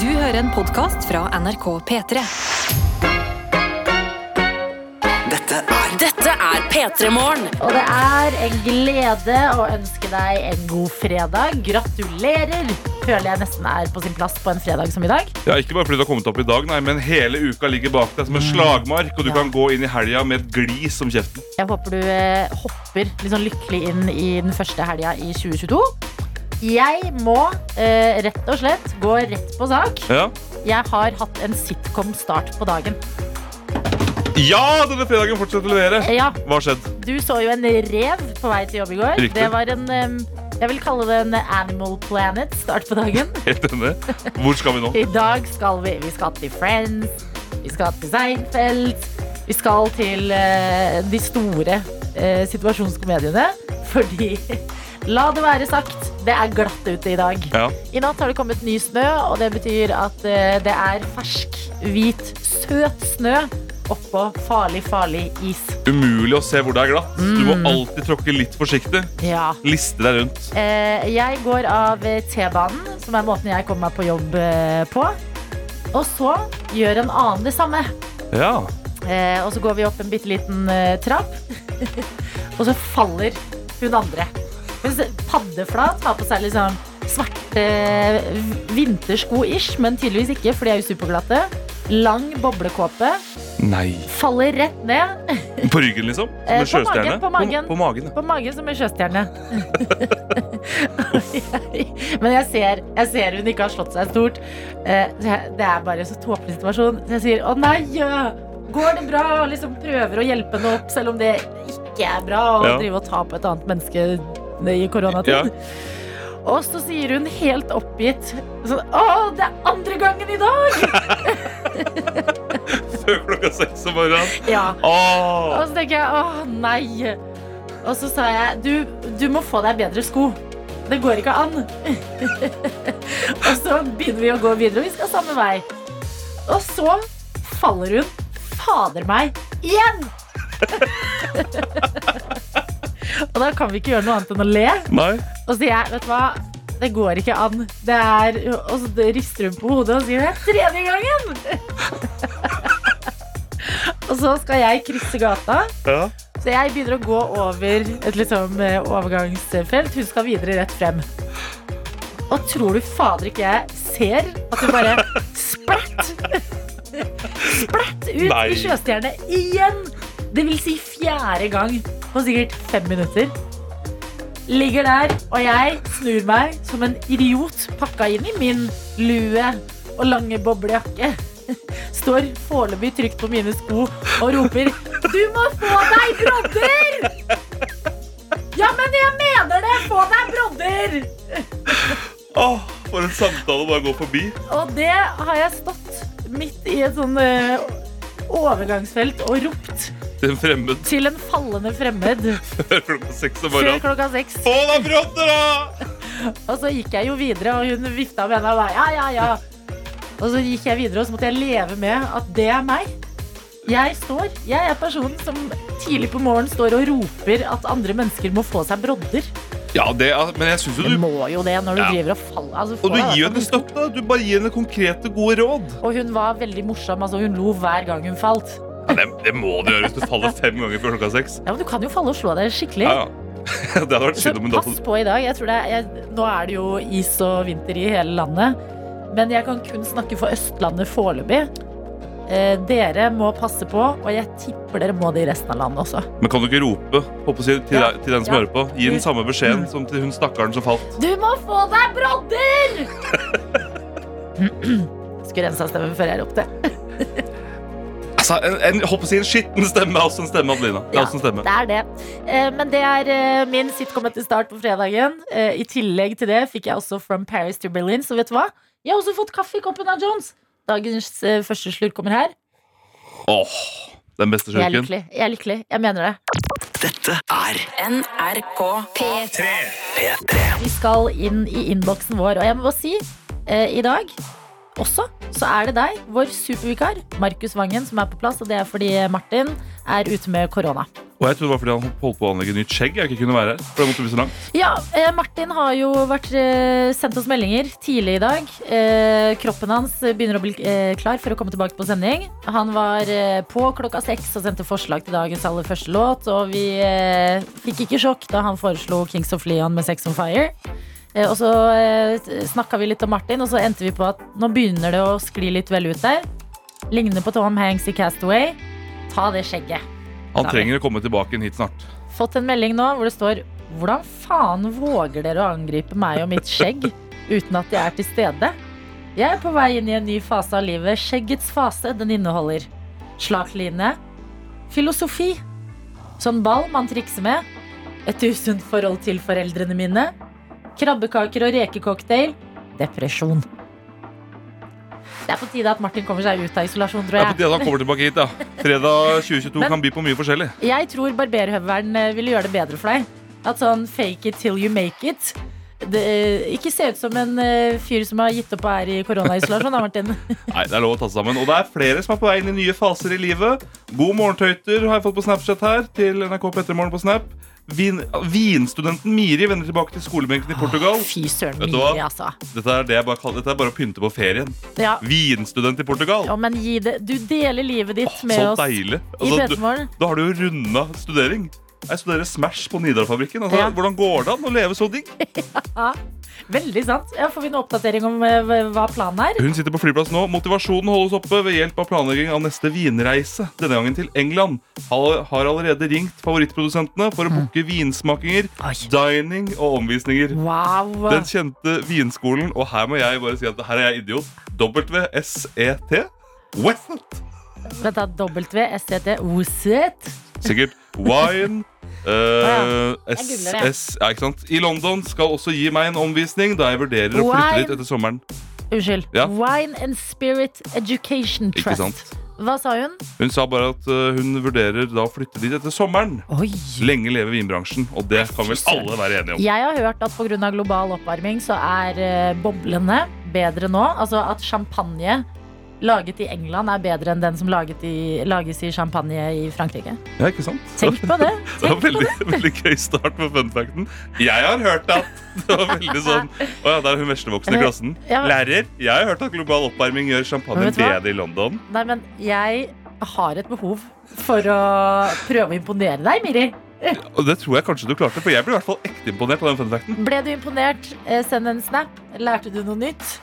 Du hører en podkast fra NRK P3. Dette er Dette er P3 Morgen. Og det er en glede å ønske deg en god fredag. Gratulerer! Føler jeg nesten er på sin plass på en fredag som i dag. Ja, Ikke bare fordi det har kommet opp i dag, nei, men hele uka ligger bak deg som en slagmark, og du Mm. Ja. kan gå inn i helga med et glis om kjeften. Jeg håper du eh, hopper litt sånn lykkelig inn i den første helga i 2022. Jeg må eh, rett og slett gå rett på sak. Ja, Jeg har hatt en sitcom-start på dagen. ja denne fredagen fortsetter å levere! Eh, Ja, Hva har skjedd? Du så jo en rev på vei til jobb i går. Riktig. Det var en em, Jeg vil kalle det en Animal Planet-start på dagen. Helt enig. Hvor skal vi nå? I dag skal vi Vi skal til Friends, vi skal til Seinfeld, vi skal til eh, de store eh, situasjonskomediene. Fordi La det være sagt, det er glatt ute i dag. Ja. I natt har det kommet ny snø, og det betyr at eh, det er fersk, hvit, søt snø oppå farlig, farlig is. Umulig å se hvor det er glatt. Du Mm. må alltid tråkke litt forsiktig. Ja. Liste deg rundt. Eh, jeg går av eh, T-banen, som er måten jeg kommer meg på jobb eh, på. Og så gjør en annen det samme. Ja. Eh, og så går vi opp en bitte liten eh, trapp, og så faller hun andre. Hun s- paddeflat har på seg litt sånn svarte v- vintersko-ish, men tydeligvis ikke, for de er jo superglatte. Lang boblekåpe. Nei. Faller rett ned På ryggen, liksom? Som Eh, på en magen, sjøstjerne? på magen. På, på magen, ja. på magen som en sjøstjerne. men jeg ser, jeg ser hun ikke har slått seg stort. Eh, så jeg- Det er bare en så tåpelig situasjon. Så jeg sier 'Å nei, ja, går det bra?' Og liksom prøver å hjelpe henne opp, selv om det ikke er bra å Ja. drive og ta på et annet menneske i koronatid. Og så sier hun helt oppgitt sånn 'Å, det er andre gangen i dag!' Før klokka seks om morgenen. Ah. Ja. Åh. Og så tenker jeg, åh nei Og så sa jeg, du, du må få deg bedre sko Det går ikke an Og så begynner vi å gå videre Og vi skal samme vei Og så faller hun Fader meg, igjen Og da kan vi ikke gjøre noe annet enn å le Nei. Og så sier jeg, vet du hva det går ikke an Det er, Og så rister hun på hodet og sier Det er tredje gangen Og så skal jeg krysse gata Ja. så jeg begynner å gå over et liksom eh, overgangsfelt. Hun skal videre rett frem. Og tror du fader ikke jeg ser at hun bare splatt Splatt ut Nei. i sjøstjerne igjen! Det vil si fjerde gang på sikkert fem minutter. Ligger der, og jeg snur meg som en idiot pakka inn i min lue og lange boblejakke. Står foreløpig trygt på mine sko og roper 'Du må få deg brodder!' Ja, men jeg mener det! Få deg brodder! Åh, Ah, for en samtale å bare gå forbi. Og det har jeg stått midt i et sånn eh, overgangsfelt og ropt Til en fremmed til en fallende fremmed før klokka seks om før morgenen. klokka seks. Få deg brodder, da! Og så gikk jeg jo videre, og hun vifta med henne og bare ja, ja, ja. Og så gikk jeg videre, og så måtte jeg leve med at det er meg. Jeg står, jeg er personen som tidlig på morgenen står og roper at andre mennesker må få seg brodder. Ja, det er, men jeg synes jo Du du må jo det når du Ja. driver og faller. Altså, Og får du deg gir jo hvertfall henne støtte. Du bare gir henne konkrete, gode råd. Og hun var veldig morsom, altså hun lo hver gang hun falt. Ja, det, det må du gjøre hvis du faller fem ganger før klokka seks. Ja, men du kan jo falle og slå deg skikkelig. Ja, ja. Det hadde vært Så synd om hun datt. pass på i dag. Jeg tror det er, jeg, nå er det jo is og vinter i hele landet. Men jeg kan kun snakke for Østlandet foreløpig. Eh, dere må passe på, og jeg tipper dere må det i resten av landet også. Men kan du ikke rope håper jeg, til, Ja. deg- til den som Ja. hører på? Gi den samme beskjeden Mm. som til hun stakkaren som falt. Du må få deg brodder! Skulle rensa stemmen før jeg ropte. Altså, en, en, håper jeg, en skitten stemme er også en stemme, Adelina. Det er Ja, også Altså en stemme. Det er det. Eh, Men det er eh, min sitcom etter start på fredagen. Eh, I tillegg til det fikk jeg også From Paris to Berlin, så vet du hva? Jeg har også fått kaffe i koppen av Jones. Dagens eh, første slurk kommer her. Åh, den beste Jeg er kjøkken. lykkelig. Jeg er lykkelig. Jeg mener det. Dette er NRK P3. Vi skal inn i innboksen vår, og jeg må bare si eh, i dag også så er det deg, vår supervikar, Markus Vangen, som er på plass. Og det er fordi Martin er ute med korona. Og jeg trodde det var fordi han holdt på å anlegge nytt skjegg. Jeg ikke kunne være her, for det måtte bli så langt. Ja, eh, Martin har jo vært, eh, sendt oss meldinger tidlig i dag. Eh, kroppen hans begynner å bli eh, klar for å komme tilbake på sending. Han var eh, på klokka seks og sendte forslag til dagens aller første låt. Og vi eh, fikk ikke sjokk da han foreslo Kings of Leon med Sex on Fire. Eh, og så eh, snakka vi litt om Martin, og så endte vi på at nå begynner det å skli litt vel ut der. Ligner på Tom Hanks i Castaway. Ta det skjegget. Han trenger å komme tilbake hit snart. Fått en melding nå hvor det står Hvordan faen våger dere å angripe meg og mitt skjegg uten at jeg er til stede? Jeg er på vei inn i en ny fase av livet. Skjeggets fase. Den inneholder slak line, filosofi, sånn ball man trikser med, et usunt forhold til foreldrene mine, krabbekaker og rekecocktail, depresjon. Det er på tide at Martin kommer seg ut av isolasjon, Det tror er på jeg. tide at han kommer tilbake hit, ja. Fredag 2022 Men- kan by på mye forskjellig. Jeg tror barberhøvelen eh, ville gjøre det bedre for deg. At sånn fake it till you make it. Det, eh, ikke se ut som en eh, fyr som har gitt opp og er i koronaisolasjon. da, Martin. Nei, det er lov å ta seg sammen. Og det er flere som er på vei inn i nye faser i livet. God morgentøyter har jeg fått på Snapchat her, til NRK Petremorgen på Snap. Vin, vinstudenten Miri vender tilbake til skolebenken Ah. i Portugal. Fy søren Vet du hva? mye, altså. Dette er, det jeg bare kaller, dette er bare å pynte på ferien. Ja. Vinstudent i Portugal. Ja, men gi det. Du deler livet ditt med så oss deilig. i Altså, du- Petermorgen. Da har du jo runda studering. Jeg studerer Smash på Nidarfabrikken. Altså, Ja. Hvordan går det an å leve så digg? Veldig sant. Ja, får vi en oppdatering om eh, hva- hva planen er? Hun sitter på flyplass nå. Motivasjonen holdes oppe ved hjelp av planlegging av neste vinreise. Denne gangen til England. Har har allerede ringt favorittprodusentene for å Mm. booke vinsmakinger, dining og omvisninger. Wow. Den kjente vinskolen, og her må jeg bare si at her er jeg idiot. E WSET. West. Vent da, WSCT Woset. Sikkert wine. Uh, Jeg googler det. SS, ja, ikke sant? I London skal også gi meg en omvisning, da jeg vurderer å flytte Wine. dit etter sommeren. Unnskyld. Ja. Wine and Spirit Education Ikke Trust. sant? Hva sa hun? Hun sa bare at eh, hun vurderer da å flytte dit etter sommeren. Oi. Lenge leve vinbransjen, og det kan vel alle være enige om. Jeg har hørt at pga. global oppvarming så er eh, boblene bedre nå. Altså at champagne laget i England er bedre enn den som laget i, lages i champagne i Frankrike. Ja, ikke sant? Tenk på det! Det var Tenk på veldig, det. veldig gøy start på fun facten. Jeg har hørt at Det var veldig sånn Å ja, der er hun veslevoksne i klassen. Ja, men- Lærer, jeg har hørt at global oppvarming gjør champagne Men vet du hva? bedre i London. Nei, men jeg har et behov for å prøve å imponere deg, Miri. Og det tror jeg kanskje du klarte, for jeg ble i hvert fall ekte imponert av den fun facten. Ble du imponert? Eh, Send en snap. Lærte du noe nytt?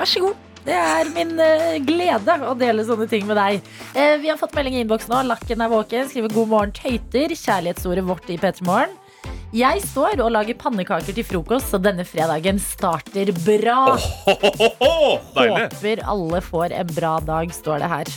Vær så god. Det er min eh, glede å dele sånne ting med deg. Eh, vi har fått melding i innboksen nå. Lakken er våken. Skriver 'God morgen, tøyter'. Kjærlighetsordet vårt i P3 Morgen. Jeg står og lager pannekaker til frokost, så denne fredagen starter bra. Ho-ho-ho! Deilig. Håper alle får en bra dag, står det her.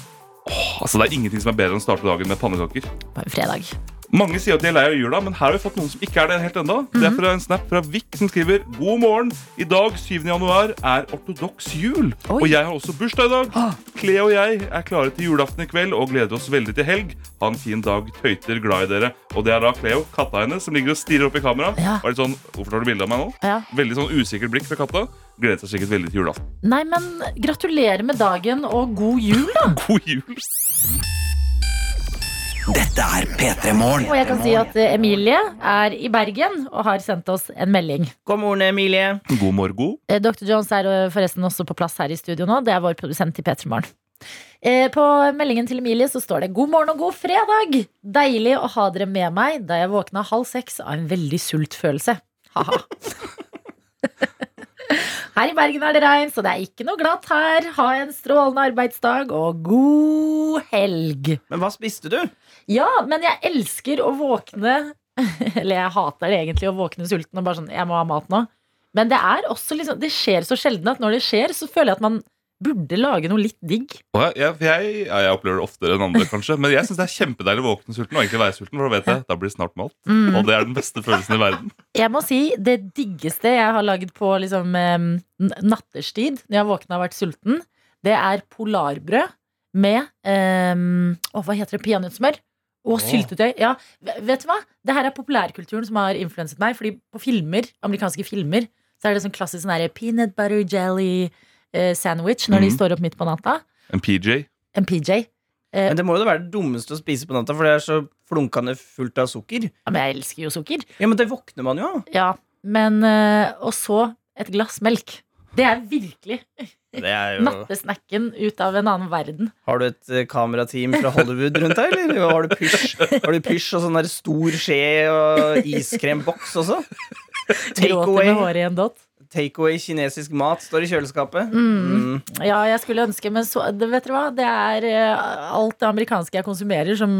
Altså, det er ingenting som er bedre enn å starte dagen med pannekaker. På en fredag. Mange sier at de er lei av jula, men her har vi fått noen som ikke er det helt ennå. Det er fra en snap fra Vik som skriver God morgen. I dag, 7. januar, er ortodoks jul. Og jeg har også bursdag i dag. Kle og jeg er klare til julaften i kveld og gleder oss veldig til helg. Ha en fin dag, tøyter, glad i dere. Og det er da Cleo, katta hennes, som ligger og stirrer opp i kamera. Ja. Og er litt sånn, Hvorfor tar du bilde av meg nå? Ja. Veldig sånn usikkert blikk fra katta. Gleder seg sikkert veldig til julaften. Nei, men gratulerer med dagen og god jul, da. God jul! Dette er P3 Morgen. Og jeg kan si at eh, Emilie er i Bergen og har sendt oss en melding. God morgen, Emilie. God morgen. Eh, Dr. Jones er eh, forresten også på plass her i studio nå. Det er vår produsent i P3 Morgen. Eh, På meldingen til Emilie så står det 'God morgen og god fredag'. Deilig å ha dere med meg da jeg våkna halv seks av en veldig sultfølelse. Ha-ha. Her i Bergen er det regn, så det er ikke noe glatt her. Ha en strålende arbeidsdag og god helg. Men hva spiste du? Ja, men jeg elsker å våkne Eller jeg hater det egentlig å våkne sulten og bare sånn Jeg må ha mat nå. Men det er også liksom Det skjer så sjelden at når det skjer, så føler jeg at man burde lage noe litt digg. Og jeg, jeg, jeg, ja, jeg opplever det oftere enn andre, kanskje. Men jeg syns det er kjempedeilig å våkne sulten. Og egentlig være sulten, for da vet jeg, da blir det snart mat. Mm. Og det er den beste følelsen i verden. Jeg må si det diggeste jeg har laget på liksom eh, n- natterstid når jeg har våkna og vært sulten, det er polarbrød med eh, Å, hva heter det? Peanøttsmør. Og syltetøy. Ja, v- vet du hva? Det her er populærkulturen som har influenset meg. Fordi på filmer, amerikanske filmer så er det sånn klassisk sånn her peanut butter jelly eh, sandwich når de Mhm. står opp midt på natta. En PJ. En PJ. Men det må jo da være det dummeste å spise på natta, for det er så flunkende fullt av sukker. Ja, men jeg elsker jo sukker. Ja, Men det våkner man jo av. Ja, men eh, Og så et glass melk. Det er virkelig Det er jo- nattesnacken ut av en annen verden. Har du et eh, kamerateam fra Hollywood rundt deg, eller har du pysj Har du pysj og sånn der stor skje og iskremboks også? Gråter med Takeaway håret i en dott. take away kinesisk mat står i kjøleskapet. Mm. Mm. Ja, jeg skulle ønske, men så, det, vet dere hva? Det er eh, alt det amerikanske jeg konsumerer, som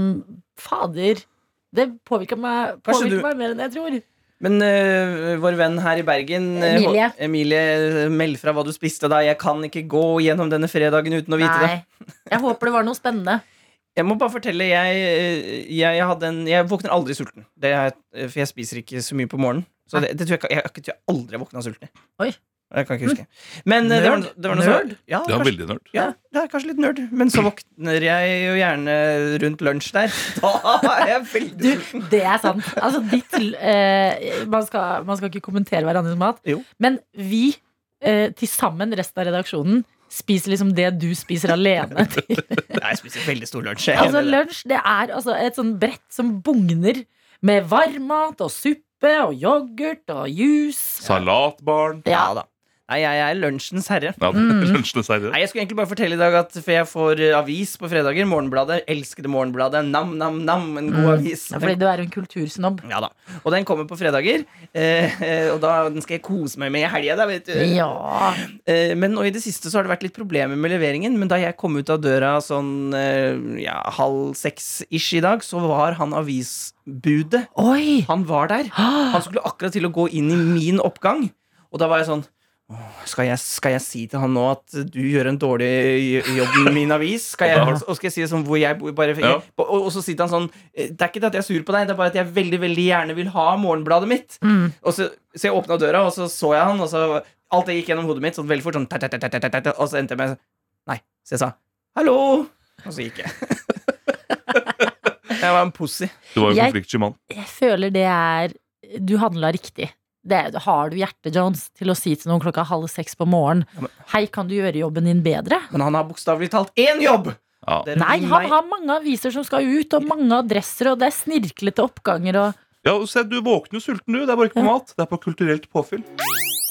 fader Det påvirker meg, Kanskje påvirker du- meg mer enn jeg tror. Men eh, vår venn her i Bergen, eh, Emilie. Hå- Emilie, eh, meld fra hva du spiste da. Jeg kan ikke gå gjennom denne fredagen uten å vite det. Nei. Jeg håper det var noe spennende. Jeg må bare fortelle, jeg, eh, jeg, jeg, hadde en, jeg våkner aldri sulten. Det er, eh, for jeg spiser ikke så mye på morgenen. Så det, det tror jeg, ikke- jeg, jeg tror jeg aldri våkna sulten. Oi. Mm. Jeg kan ikke huske. Men eh, det var, Nerd. det var noe så- Nerd. Det Ja, var kanskje, veldig nerd. ja, det er kanskje litt nerd. Men så våkner jeg jo gjerne rundt lunsj der. Da er jeg Du, veldig sulten. det er sant. Altså, ditt, eh, man, skal, man skal ikke kommentere hverandres mat, Jo. men vi eh, til sammen, resten av redaksjonen, spiser liksom det du spiser alene. Nei, jeg spiser veldig stor lunsj. jeg er altså, enig i det. lunsj, det er altså et sånn brett som bugner med varmmat og suppe og yoghurt og juice. Salatbarn. Ja da. Nei, jeg er lunsjens herre. Ja, Mm. lunsjens herre. Nei, Jeg skulle egentlig bare fortelle i dag at for jeg får eh, avis på fredager. Morgenbladet. Elskede Morgenbladet. Nam, nam, nam. En god avis. Mm. Ja, fordi du er en kultursnobb. Ja da. Og den kommer på fredager. Eh, eh, og da, den skal jeg kose meg med i helga, da, vet du. Ja. Eh, men nå i det siste så har det vært litt problemer med leveringen. Men da jeg kom ut av døra sånn eh, ja, halv seks-ish i dag, så var han avisbudet. Oi! Han var der. Han skulle akkurat til å gå inn i min oppgang. Og da var jeg sånn «Åh, skal jeg, skal jeg si til han nå at du gjør en dårlig j- jobb med min avis? Skal jeg, og skal jeg si sånn hvor jeg bor bare, Ja. og, og så sier han sånn «Eh, Det er ikke det at jeg er sur på deg, det er bare at jeg veldig veldig gjerne vil ha morgenbladet mitt. Og så, så jeg åpna døra, og så så jeg han, og så alt det gikk gjennom hodet mitt sånn veldig fort, sånn, «tæ, tæ, tæ, tæ, tæ, tæ», og så endte jeg med sånn, Nei. Så jeg sa hallo, og så gikk jeg. jeg var en pussy. Du var jo Jeg- en konfliktsky mann. Jeg føler det er Du handla riktig. Det er, har du hjerte, Jones, til å si til noen klokka halv seks på morgenen Ja, men- Hei, kan du gjøre jobben din bedre? Men han har bokstavelig talt én jobb! Ja. Dere Nei, vil han meg- har mange aviser som skal ut, og mange adresser, og det er snirklete oppganger og Ja, og se, du våkner jo sulten, du. Det er bare ikke på mat. Det er på kulturelt påfyll.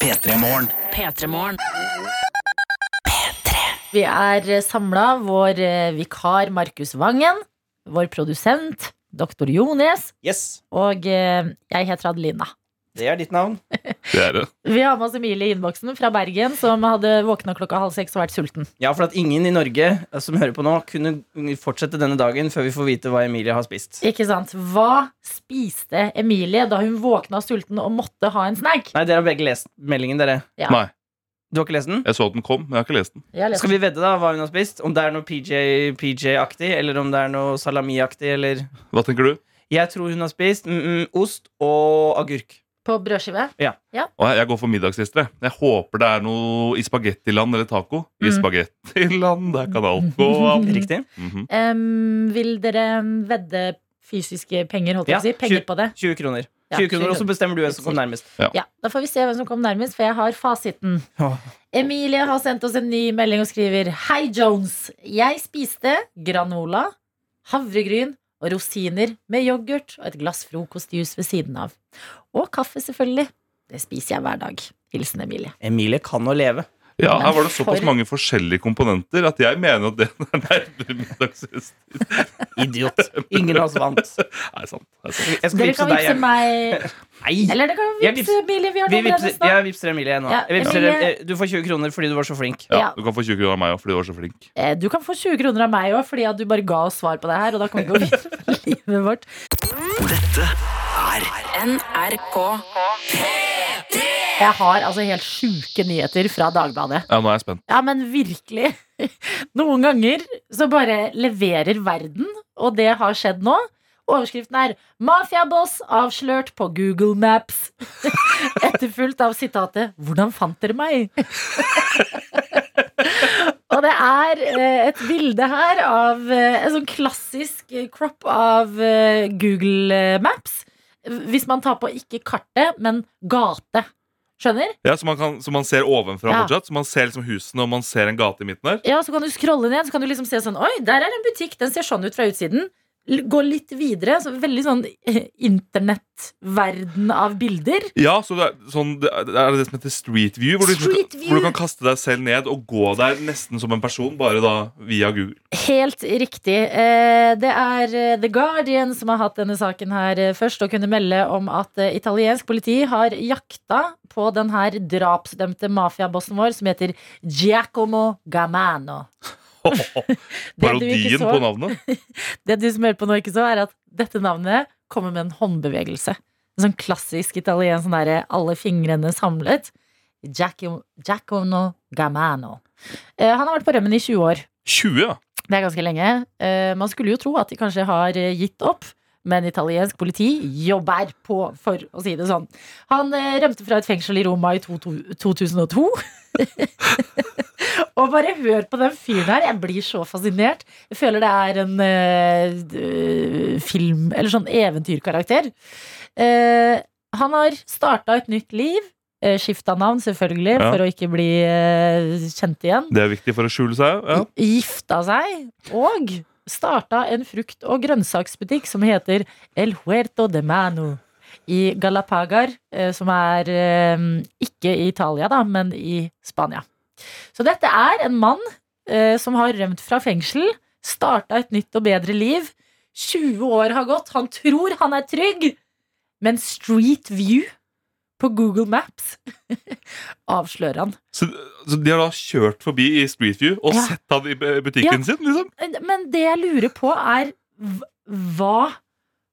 P3 Morgen. P3-morgen. Vi er samla, vår eh, vikar Markus Vangen, vår produsent doktor Jones, Yes, og eh, jeg heter Adelina. det er ditt navn. Det er det. Vi har med oss Emilie i innboksen fra Bergen, som hadde våkna klokka halv seks og vært sulten. Ja, for at ingen i Norge eh, som hører på nå, kunne fortsette denne dagen før vi får vite hva Emilie har spist. Ikke sant? Hva spiste Emilie da hun våkna sulten og måtte ha en snack? Nei, dere har begge lest meldingen, dere. Ja. Nei, Du har ikke lest den? jeg så at den kom, men jeg har ikke lest den. Jeg leser. Skal vi vedde da hva hun har spist? Om det er noe PJ PJ-aktig, eller om det er noe salami-aktig, eller Hva tenker du? Jeg tror hun har spist mm, mm, ost og agurk. På brødskive? Å, jeg- jeg går for middagslister. jeg. Jeg håper det er noe i spagettiland eller taco. I Mm. spagettiland, der kan alt gå an. Mm. Riktig. Mhm. Em, vil dere vedde fysiske penger, holdt jeg Ja, på å si? Penger tju- på det? 20 kroner. Ja, 20 20 kroner, Og så bestemmer du hvem som kom nærmest. Ja, Da får vi se hvem som kom nærmest, for jeg har fasiten. Åh. Emilie har sendt oss en ny melding og skriver Hei, Jones. Jeg spiste granola, havregryn og rosiner med yoghurt og et glass frokostjuice ved siden av. Og kaffe, selvfølgelig. Det spiser jeg hver dag. Hilsen Emilie. Emilie kan å leve. Ja, her var det For- såpass mange forskjellige komponenter at jeg mener at det er nærmere middagslister. Idiot. Ingen av oss vant. Nei, sant. Det er sant. Jeg skal Dere vippse kan deg. vipse jeg. meg. Nei! Eller dere kan Jeg vipse Emilie. Vi har Vi noe med vipser, det jeg snart. vipser Emilie nå. Ja, Jeg vipser, Emilie- eh, Du får 20 kroner fordi du var så flink. Ja. Ja, du kan få 20 kroner av meg òg, fordi du var så flink. Eh, Du kan få 20 kroner av meg òg, fordi at du bare ga oss svar på det her. Og da kan vi gå videre med livet vårt. NRK. Jeg har altså helt sjuke nyheter fra Dagbladet. Ja, nå er jeg spent. Ja, men virkelig. Noen ganger så bare leverer verden, og det har skjedd nå. Overskriften er 'Mafiaboss avslørt på Google Maps'. Etterfulgt av sitatet 'Hvordan fant dere meg?' og det er eh, et bilde her av eh, en sånn klassisk eh, crop av eh, Google Maps. Hvis man tar på ikke kartet, men gate. Skjønner? Ja, så man, kan, så man ser ovenfra Ja. fortsatt. Så man ser liksom husene, og man ser en gate i midten der. Ja, så kan du scrolle ned, så kan du liksom se sånn Oi, der er en butikk, den ser sånn ut fra utsiden. L- Gå litt videre. Så veldig sånn eh, internettverden av bilder. Ja, så det er, sånn, det er det er det som heter street view, hvor du, liksom- Street view. hvor du kan kaste deg selv ned og gå der nesten som en person, bare da via Google. Helt riktig. Eh, Det er eh, The Guardian som har hatt denne saken her eh, først, og kunne melde om at eh, italiensk politi har jakta på den her drapsdømte mafiabossen vår, som heter Giacomo Gamano. Det du ikke Parodien så. på navnet. Det du som hører på nå ikke så, er at dette navnet kommer med en håndbevegelse. En sånn klassisk italiensk sånn derre alle fingrene samlet. Giacomo Giacomo Gamano. Eh, Han har vært på rømmen i 20 år. 20, ja. Det er ganske lenge. Eh, man skulle jo tro at de kanskje har eh, gitt opp. Men italiensk politi jobber på, for å si det sånn. Han eh, rømte fra et fengsel i Roma i to, to, 2002. og bare hør på den fyren her. Jeg blir så fascinert. Jeg føler det er en eh, d- film Eller sånn eventyrkarakter. Eh, han har starta et nytt liv. Uh, Skifta navn, selvfølgelig, Ja. for å ikke bli eh, kjent igjen Det er viktig for å skjule seg. Ja. gifta seg og starta en frukt- og grønnsaksbutikk som heter El Huerto de Mano i Galapagar, eh, som er eh, ikke i Italia, da, men i Spania. Så dette er en mann eh, som har rømt fra fengsel, starta et nytt og bedre liv. 20 år har gått, han tror han er trygg, men Street View på Google Maps avslører han. Så, så de har da kjørt forbi i Street View og Ja. sett han i eh, butikken sin, liksom? Eh, Men det jeg lurer på er hv- hva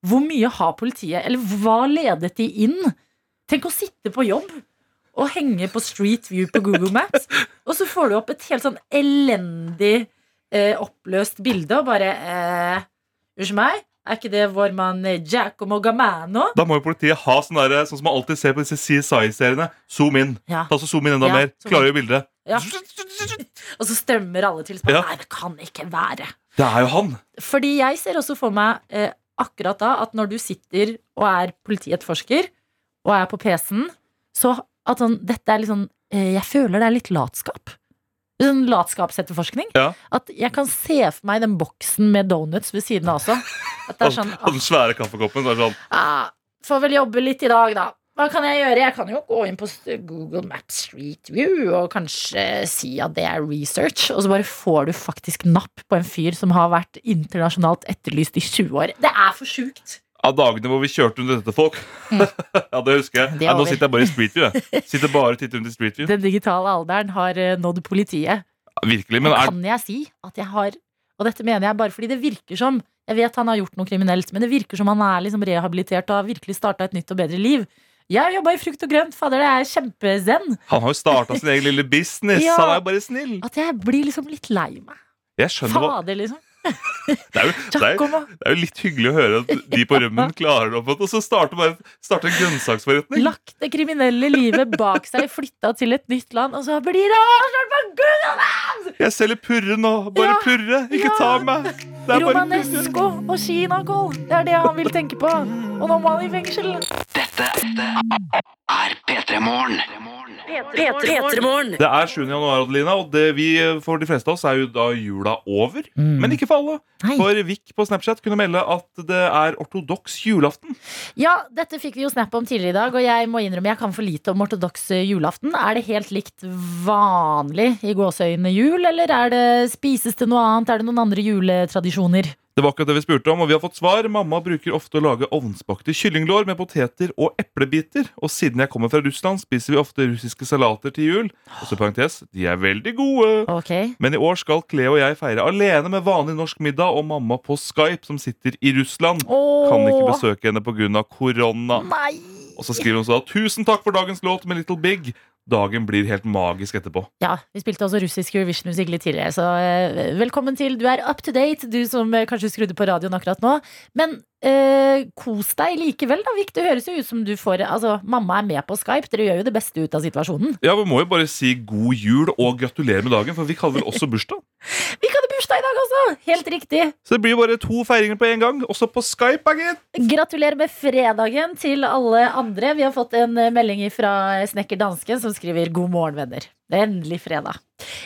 Hvor mye har politiet Eller hva ledet de inn? Tenk å sitte på jobb og henge på Street View på Google Maps, og så får du opp et helt sånn elendig eh, oppløst bilde og bare eh, Unnskyld meg, er ikke det vår mann eh, Giacomo Gamano? Da må jo politiet ha sånn derre- sånn som man alltid ser på disse CSI-seriene. Zoom in. Ja. Ta så zoom inn enda Ja, mer. zoom Klarer jo bildet. ja. Og så strømmer alle til. Ja. Ja. Nei, det kan ikke være. Det er jo han! Fordi jeg ser også for meg eh, akkurat da at når du sitter og er politietterforsker og er på PC-en, så at sånn, dette er litt sånn eh, Jeg føler det er litt latskap. Sånn latskapsetterforskning. Ja. At jeg kan se for meg den boksen med donuts ved siden av også. At det er sånn Og den svære kaffekoppen. Så er det sånn. ah, Får vel jobbe litt i dag, da. Hva kan jeg gjøre? Jeg kan jo gå inn på st- Google Maps Street View og kanskje si at det er research, og så bare får du faktisk napp på en fyr som har vært internasjonalt etterlyst i 20 år. Det er for sjukt. Av dagene hvor vi kjørte rundt etter folk. ja, det husker jeg. Mm. Det er Nei, nå over. sitter jeg bare i Street View. jeg. Sitter bare og titter rundt i Street View. Den digitale alderen har eh, nådd politiet. Virkelig, men er, Kan jeg si at jeg har Og dette mener jeg bare fordi det virker som Jeg vet han har gjort noe kriminelt, men det virker som han er liksom rehabilitert og har virkelig starta et nytt og bedre liv. Jeg jobba i frukt og grønt, fader, det er kjempezen. han har jo starta sin egen lille business. Ja. Han er jo bare snill. At jeg blir liksom litt lei meg. Jeg skjønner hva Fader, liksom. det er, jo, det, er, Giacomo. det er jo litt hyggelig å høre at de på rømmen klarer det, og så starter bare starter en grønnsaksforretning. Lagt det kriminelle livet bak seg, flytta til et nytt land, og så blir det avslørt på Google! Jeg selger purre nå. Bare Ja. purre. Ikke Ja. ta meg. Det er bare purre. Romanesco og kinakål. Det er det han vil tenke på. Og nå må han i fengsel. er P3 Morgen. P3morgen. Det er 7. januar, Adelina, og det vi, eh, for de fleste av oss er jo da jula over. Men ikke for alle. Mm. Nei. For Vik på Snapchat kunne melde at det er ortodoks julaften. Ja, dette fikk vi jo snap om tidligere i dag, og jeg må innrømme jeg kan for lite om ortodoks julaften. Er det helt likt vanlig i gåseøyne jul, eller er det spises det noe annet? Er det noen andre juletradisjoner? Det var akkurat det vi spurte om, og vi har fått svar. Mamma bruker ofte å lage ovnsbakte kyllinglår med poteter og eplebiter. Og siden jeg kommer fra Russland, spiser vi ofte russiske salater til jul. Og så parentes, de er veldig gode. Ok. Men i år skal Cleo og jeg feire alene med vanlig norsk middag og mamma på Skype, som sitter i Russland. Kan ikke Åh, besøke henne pga. korona. nei! Og så skriver hun så da Tusen takk for dagens låt med Little Big. Dagen blir helt magisk etterpå. Ja, vi spilte også russisk Eurovision-musikk litt tidligere, så eh, velkommen til. Du er up to date, du som eh, kanskje skrudde på radioen akkurat nå. Men eh, kos deg likevel, da, Vik. Det høres jo ut som du får Altså, mamma er med på Skype, dere gjør jo det beste ut av situasjonen. Ja, Vi må jo bare si god jul og gratulerer med dagen, for vi kaller vel også bursdag. Vi kan jo bursdag i dag også! Helt riktig. Så det blir jo bare to feiringer på en gang, også på Skype. da, gitt. Gratulerer med fredagen til alle andre. Vi har fått en eh, melding fra snekker Dansken som skriver 'God morgen, venner'. Det er endelig fredag.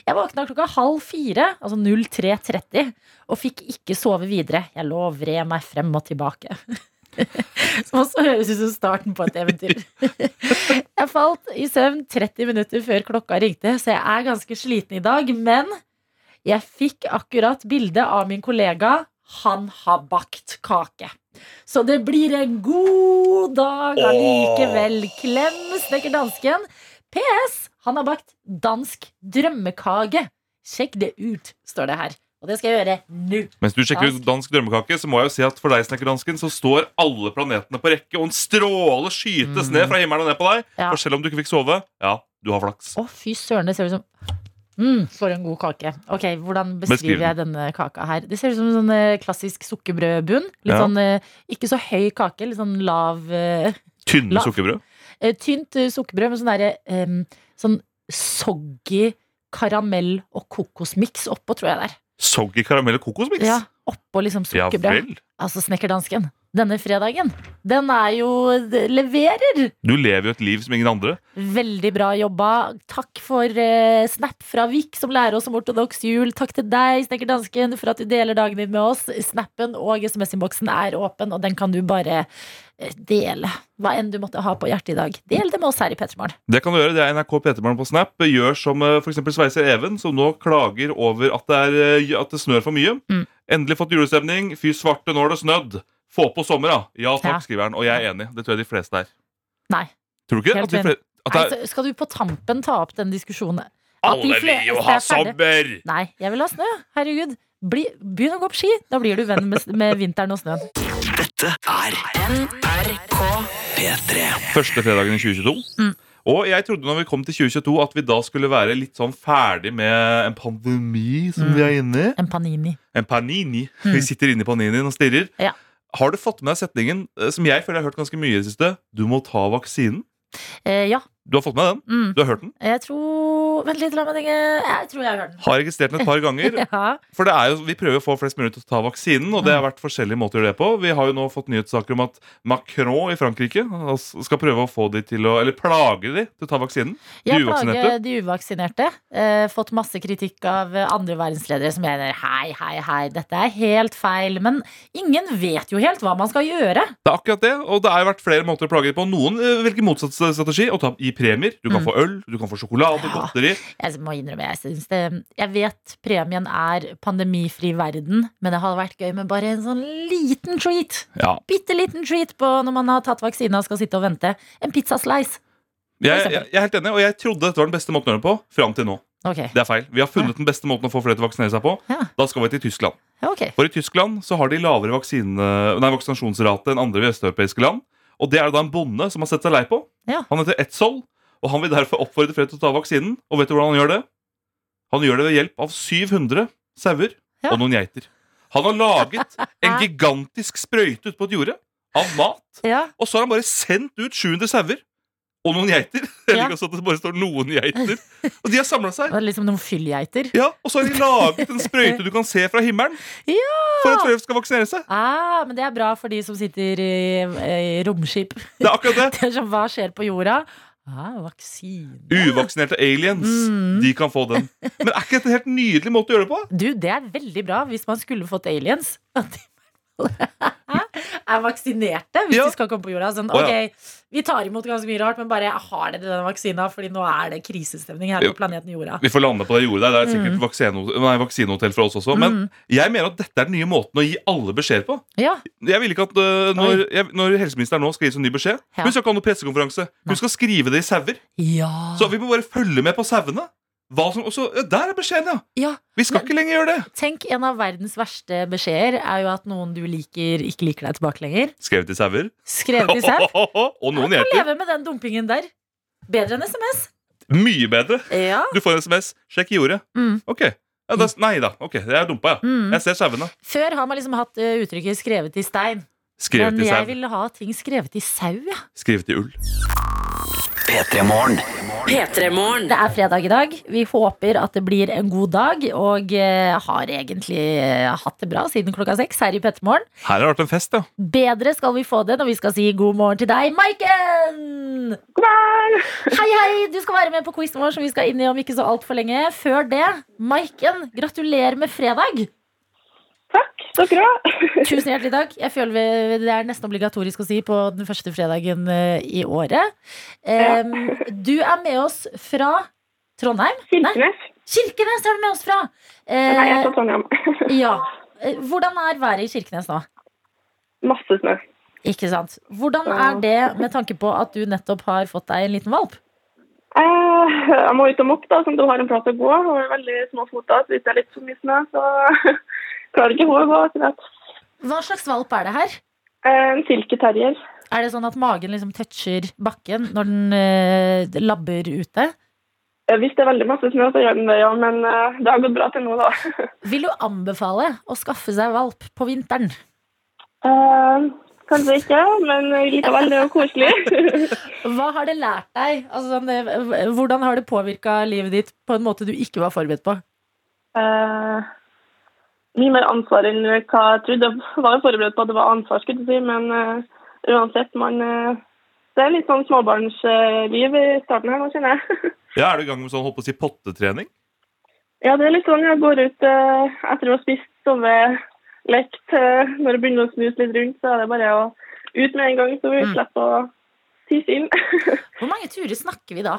Jeg våkna klokka halv fire, altså 03.30, og fikk ikke sove videre. Jeg lå og vred meg frem og tilbake. Som også høres ut som starten på et eventyr. Jeg falt i søvn 30 minutter før klokka ringte, så jeg er ganske sliten i dag. Men jeg fikk akkurat bilde av min kollega. Han har bakt kake. Så det blir en god dag allikevel. Klem snekker dansken. PS. Han har bakt dansk drømmekake. Sjekk det ut, står det her. Og det skal jeg gjøre nå. Mens du sjekker ut dansk drømmekake, så må jeg jo si at for deg, snekkerdansken, så står alle planetene på rekke, og en stråle skytes ned fra himmelen og ned på deg. Ja. For selv om du ikke fikk sove, ja, du har flaks. Å, fy søren, det ser ut som mm, For en god kake. Ok, Hvordan Beskriv beskriver den. jeg denne kaka her? Det ser ut som en sånn eh, klassisk sukkerbrødbunn. Litt Ja. sånn eh, ikke så høy kake, litt sånn lav eh, Tynne La- sukkerbrød. eh, Tynt eh, sukkerbrød med sånn derre eh, sånn soggy karamell og kokosmiks oppå, tror jeg det er. Soggy karamell og kokosmiks. Ja, oppå liksom Ja sukkerbrød. vel. altså snekkerdansken. Denne fredagen. Den er jo det Leverer! Du lever jo et liv som ingen andre. Veldig bra jobba. Takk for eh, snap fra Vik, som lærer oss om ortodoks jul. Takk til deg, snekker dansken, for at du deler dagen din med oss. Snappen og SMS-innboksen er åpen, og den kan du bare eh, dele. Hva enn du måtte ha på hjertet i dag. Del det med oss her i Petermorgen. Det kan du gjøre, det er NRK Petermann på Snap. Gjør som eh, for eksempel Sveiser Even, som nå klager over at det, er, eh, at det snør for mye. Mm. Endelig fått julestemning. Fy svarte, nå har det snødd. Få på sommer, da. Ja Ja. takk, skriver han. Og jeg er enig. Det tror jeg de fleste er. Nei. Tror du ikke? Helt At de enig. fleste, at det Nei, er, så skal du på tampen ta opp den diskusjonen? at de alle vil jo fleste ha er ferdig. sommer! Nei, jeg vil ha snø. Herregud. Bli, begynn å gå på ski. Da blir du venn med, med vinteren og snøen. Dette er P3. Første fredagen i 2022. Mm. Og jeg trodde når vi kom til 2022 at vi da skulle være litt sånn ferdig med en pandemi som Mm. vi er inne i. En panini. En panini. Vi sitter inne i paninien og stirrer. Hmm. Ja. Har du fått med deg setningen eh, som jeg føler jeg har hørt ganske mye i det siste? Du må ta vaksinen. Eh, ja. Du har fått med den? Mm. Du har hørt den? Jeg tror Vent litt, la meg tenke. Jeg tror jeg har hørt den. Har registrert den et par ganger. Ja. Hmm. For det er jo, Vi prøver å få flest mulig til å ta vaksinen, og det har vært forskjellige måter å gjøre det på. Vi har jo nå fått nyhetssaker om at Macron i Frankrike altså, skal prøve å få de til å, eller plage de til å ta vaksinen. Jeg De uvaksinerte? plager de uvaksinerte. Eh, fått masse kritikk av eh, andre verdensledere som mener hei, hei, hei, dette er helt feil. Men ingen vet jo helt hva man skal gjøre. Det er akkurat det, og det har jo vært flere måter å plage dem på. Noen eh, velger motsatt strategi og ta, gi premier. Du Hmm. kan få øl, du kan få sjokolade, Ja. godteri. Jeg må innrømme, jeg synes det Jeg vet premien er pandemifri verden, men det hadde vært gøy med bare en sånn liten treat. Ja. Bitte liten treat på når man har tatt vaksina og skal sitte og vente. En pizzaslice. Jeg, eksempel. jeg, jeg er helt enig, og jeg trodde dette var den beste måten å gjøre det på. Fram til nå. Ok. Det er feil. Vi har funnet den beste måten å få flere til å vaksinere seg på. Ja. Da skal vi til Tyskland. ok. For i Tyskland så har de lavere vaksine, nei, vaksinasjonsrate enn andre vesteuropeiske land. Og det er det da en bonde som har sett seg lei på. Ja. Han heter Etzold, og han vil derfor oppfordre flere til å ta vaksinen. Og vet du hvordan han gjør det? Han gjør det ved hjelp av 700 sauer Ja. og noen geiter. Han har laget en gigantisk sprøyte ute på et jorde av mat, Ja. og så har han bare sendt ut 700 sauer. Og noen geiter. Jeg Ja. liker også at det bare står noen geiter. Og de har samla seg. Det var liksom noen fyllgeiter. Ja, Og så har de laget en sprøyte du kan se fra himmelen. For at flere skal vaksinere seg. Ah, men det er bra for de som sitter i, i romskip. Det er akkurat det. Det er sånn, hva skjer på jorda? Ah, vaksine. Uvaksinerte aliens, Mm. de kan få den. Men er ikke dette en helt nydelig måte å gjøre det på? Du, det er veldig bra hvis man skulle fått aliens. At de er vaksinerte hvis Ja. de skal komme på jorda. Sånn, Å, ja. ok, vi tar imot ganske mye rart, men bare har dere denne vaksina? Fordi nå er det krisestemning her Jo. på planeten jorda. Vi får lande på det jordet der. Mm. Det er sikkert vaksino- nei, vaksinehotell for oss også. Men jeg mener at dette er den nye måten å gi alle beskjed på. Ja, Jeg vil ikke at øh, når, Oi. jeg, når helseministeren nå skal gi oss en ny beskjed Ja. Hun skal ikke ha noen pressekonferanse. Hun skal skrive det i sauer. ja. Så vi må bare følge med på sauene. Hva som- og så- ja, Der er beskjeden, ja! ja. Vi skal Men- ikke lenger gjøre det. Tenk, en av verdens verste beskjeder er jo at noen du liker, ikke liker deg tilbake lenger. Skrevet i sauer. Skrevet i selv. Og noen geiter. Leve med den dumpingen der. Bedre enn SMS. Mye bedre. Ja. Du får en SMS. Sjekk jordet. Mm. Ok. Ja, da, nei da. Ok, jeg er dumpa, ja. Mm. Jeg ser sauene. Før har man liksom hatt eh, uttrykket 'skrevet i stein'. Skrevet men i jeg sau. vil ha ting skrevet i sau, ja. Skrevet i ull. P3 Morgen. P3-morgen. Det er fredag i dag. Vi håper at det blir en god dag. Og eh, har egentlig eh, hatt det bra siden klokka seks her i Pettermorgen. Her har det vært en fest, ja. Bedre skal vi få det når vi skal si god morgen til deg, Maiken! Hei, hei! Du skal være med på quizen vår som vi skal inn i om ikke så altfor lenge. Før det, Maiken, gratulerer med fredag! Takk, så bra. Tusen hjertelig takk. Jeg føler vi- Det er nesten obligatorisk å si på den første fredagen eh, i året. Em, Du er med oss fra Trondheim? Nei, Kirkenes. Kirkenes er du med oss fra! Eh, Nei, jeg er fra Trondheim. ja. Eh, Hvordan er været i Kirkenes nå? Masse snø. Ikke sant? Hvordan er det med tanke på at du nettopp har fått deg en liten valp? Eh, jeg må ut og moppe, da, som du har en plass å gå. Og er veldig små foter, så hvis det er litt for mye snø, så klarer ikke hun å gå. etter hvert. Hva slags valp er det her? Eh, En silketerrier. Er det sånn at magen liksom toucher bakken når den eh, labber ute? Eh, Hvis det er veldig masse snø, så gjør den det, ja. Men eh, det har gått bra til nå, da. Vil du anbefale å skaffe seg valp på vinteren? Eh, Kanskje ikke, men eh, likevel, det er jo koselig. Hva har det lært deg? Altså, sånn, eh, hvordan har det påvirka livet ditt på en måte du ikke var forberedt på? Eh, mye mer ansvar enn hva jeg trodde. Jeg var jo forberedt på at det var ansvar, skulle jeg si, men eh, uansett, man eh, Det er litt sånn småbarnsliv i starten her nå, kjenner jeg. ja. Er du i gang med sånn holdt på å si pottetrening? ja, det er litt sånn jeg går ut eh, etter å ha spist, sovet, lekt. eh, når det begynner å snuse litt rundt, så er det bare å ut med en gang, så vi Mm. slipper å tisse inn. Hvor mange turer snakker vi da?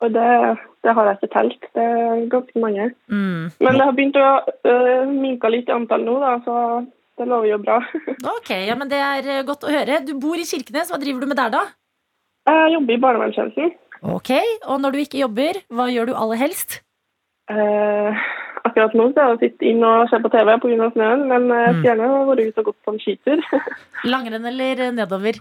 Og det, det har jeg ikke telt. Det er ganske mange. Mm. Men det har begynt å øh, minke litt i antall nå, da, så det lover jo bra. Ok, ja, men Det er eh, godt å høre. Du bor i Kirkenes. Hva driver du med der, da? Jeg jobber i barnevernstjenesten. Ok, Og når du ikke jobber, hva gjør du aller helst? Eh, akkurat nå så er jeg å sitte inn og se på TV pga. snøen, men jeg skulle gjerne vært ute og gått på en skitur. Langrenn eller eh, nedover?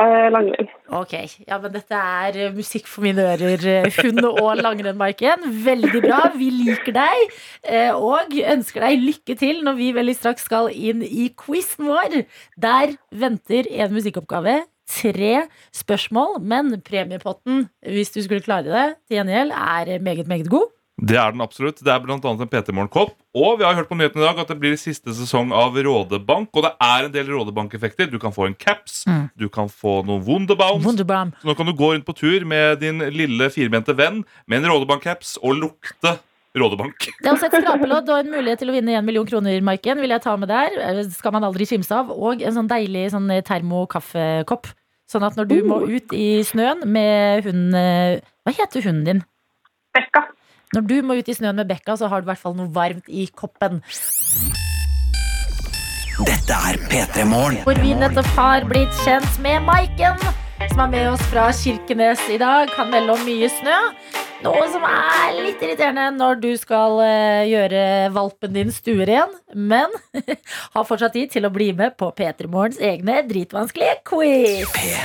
Eh, Langrenn. Ok, ja, men dette er eh, musikk for mine ører. eh, Hund og langrenn, Maiken. Veldig bra. Vi liker deg eh, og ønsker deg lykke til når vi veldig straks skal inn i quizen vår. Der venter en musikkoppgave. Tre spørsmål, men premiepotten, hvis du skulle klare det, til gjengjeld er eh, meget, meget god. Det er den absolutt. Det er blant annet en PT Morgenkopp. Og vi har hørt på nyheten i dag at det blir siste sesong av Rådebank. Og det er en del Rådebank-effekter. Du kan få en caps, Mm. du kan få noen Wunderbounds. Wunderbaum. Så nå kan du gå rundt på tur med din lille firbente venn med en Rådebank-caps og lukte Rådebank. Det er også et skrapelodd og en mulighet til å vinne 1 million kroner, Maiken. Vil jeg ta med der. Eh, Skal man aldri kimse av. Og en sånn deilig sånn termokaffekopp. Sånn at når du må ut i snøen med hunden eh, Hva heter hunden din? Bekka. Når du må ut i snøen med Bekka, så har du i hvert fall noe varmt i koppen. Dette er P3 Morgen. Hvor vi nettopp har blitt kjent med Maiken, som er med oss fra Kirkenes i dag. Kan melde om mye snø. Noe som er litt irriterende når du skal eh, gjøre valpen din stueren. Men har fortsatt tid til å bli med på P3 Morgens egne dritvanskelige quiz.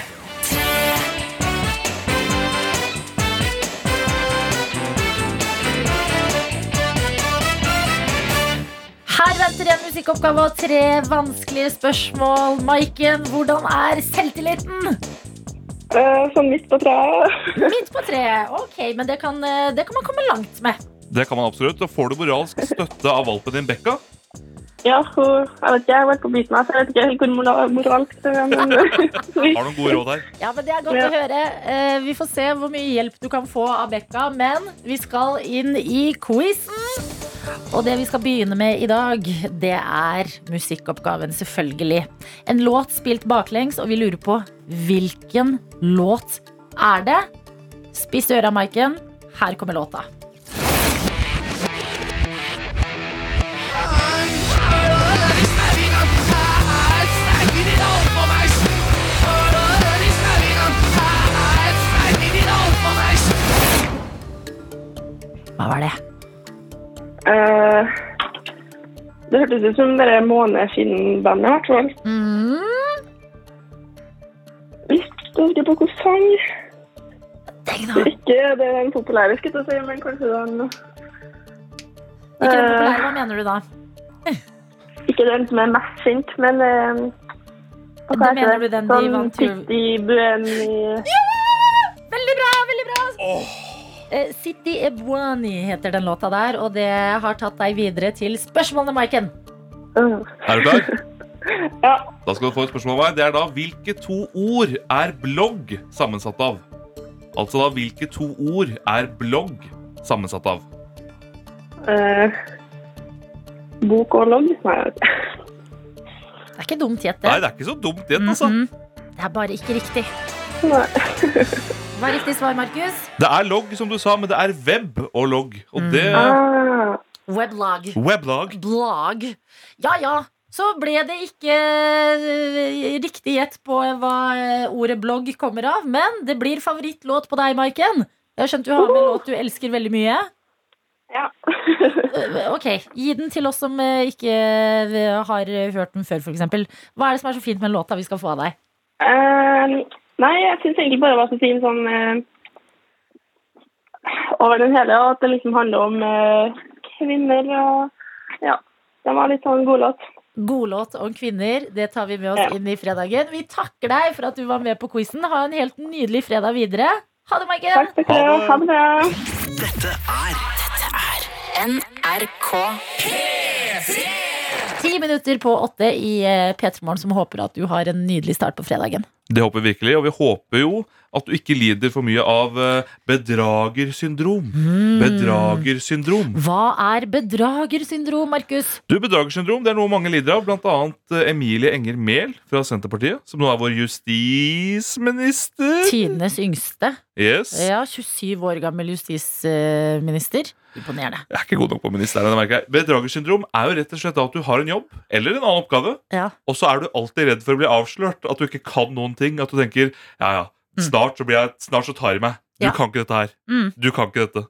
Her venter en musikkoppgave og tre vanskelige spørsmål. Maiken, hvordan er selvtilliten? Eh, sånn midt på treet. Midt på treet. Ok, men det kan, eh, det kan man komme langt med. Det kan man absolutt. Og får du moralsk støtte av valpen din, Bekka? Ja, hun, jeg vet ikke, jeg har vært på biten her, så jeg vet ikke helt hvor moral- moralsk det er, men eh, Har du noen gode råd her? Ja, men Det er godt Ja. å høre. Eh, vi får se hvor mye hjelp du kan få av Bekka. Men vi skal inn i quizen. Og det vi skal begynne med i dag, det er musikkoppgaven, selvfølgelig. En låt spilt baklengs, og vi lurer på hvilken låt er det? Spiss øra, Maiken. Her kommer låta. Hva var det? Eh, Det hørtes ut som det Måneskinnbandet, i hvert fall. Mm. Litt usikker på hvilken sang. Tenk nå. Ikke det er den populære, skulle jeg til å si, men kanskje den Ikke den populære, hva mener du da? Ikke den som er mest kjent, men eh, hva Da heter mener du det? den de Sånn vant til- Pitti Bueni Veldig bra! veldig bra Eh, City Ebwani heter den låta der, og det har tatt deg videre til spørsmålene, Maiken. Øh. Er du klar? Ja. Da skal du få et spørsmål av meg. Det er da hvilke to ord er blogg sammensatt av? Altså da hvilke to ord er blogg sammensatt av? øh, bok og logg? Nei, jeg vet ikke. Det er ikke dumt gjett, Nei, det. det er ikke så dumt det, altså. Mhm. Det er bare ikke riktig. Nei. Hva er riktig svar, Markus? Det er logg, som du sa, men det er web og logg. Og det Ah, Weblog. Weblog. Blog. Ja ja, så ble det ikke eh, riktig gjett på hva eh, ordet blogg kommer av, men det blir favorittlåt på deg, Maiken. Jeg har skjønt du har med en låt du elsker veldig mye. ja. Eh, Ok, Gi den til oss som eh, ikke eh, har hørt den før, f.eks. Hva er det som er så fint med den låta vi skal få av deg? Eh, nei, jeg syns egentlig bare det var så fin sånn eh, over den hele, og at det liksom handler om eh, kvinner og Ja. Det var litt sånn godlåt. Godlåt om kvinner. Det tar vi med oss Ja. inn i fredagen. Vi takker deg for at du var med på quizen. Ha en helt nydelig fredag videre. Ha det, Maiken! Takk for det. Ha det bra. NRK. Ti minutter på åtte i eh, P3 Morgen, som håper at du har en nydelig start på fredagen. Det håper vi virkelig, og vi håper jo at du ikke lider for mye av eh, bedragersyndrom. Mm. Mm. Bedragersyndrom. Hva er bedragersyndrom, Markus? Du, Bedragersyndrom det er noe mange lider av, bl.a. Emilie Enger Mehl fra Senterpartiet, som nå er vår justisminister. Tidenes yngste. Yes. Ja, 27 år gammel justisminister. Imponerende. Jeg er ikke god nok på ministeren. det merker jeg. Bedragersyndrom er jo rett og slett at du har en jobb eller en annen oppgave, Ja. og så er du alltid redd for å bli avslørt, at du ikke kan noen ting. At du tenker ja, ja, snart så, blir jeg, snart så tar de meg. Du Mm. Ja. kan ikke dette her. Mm. Du kan ikke dette.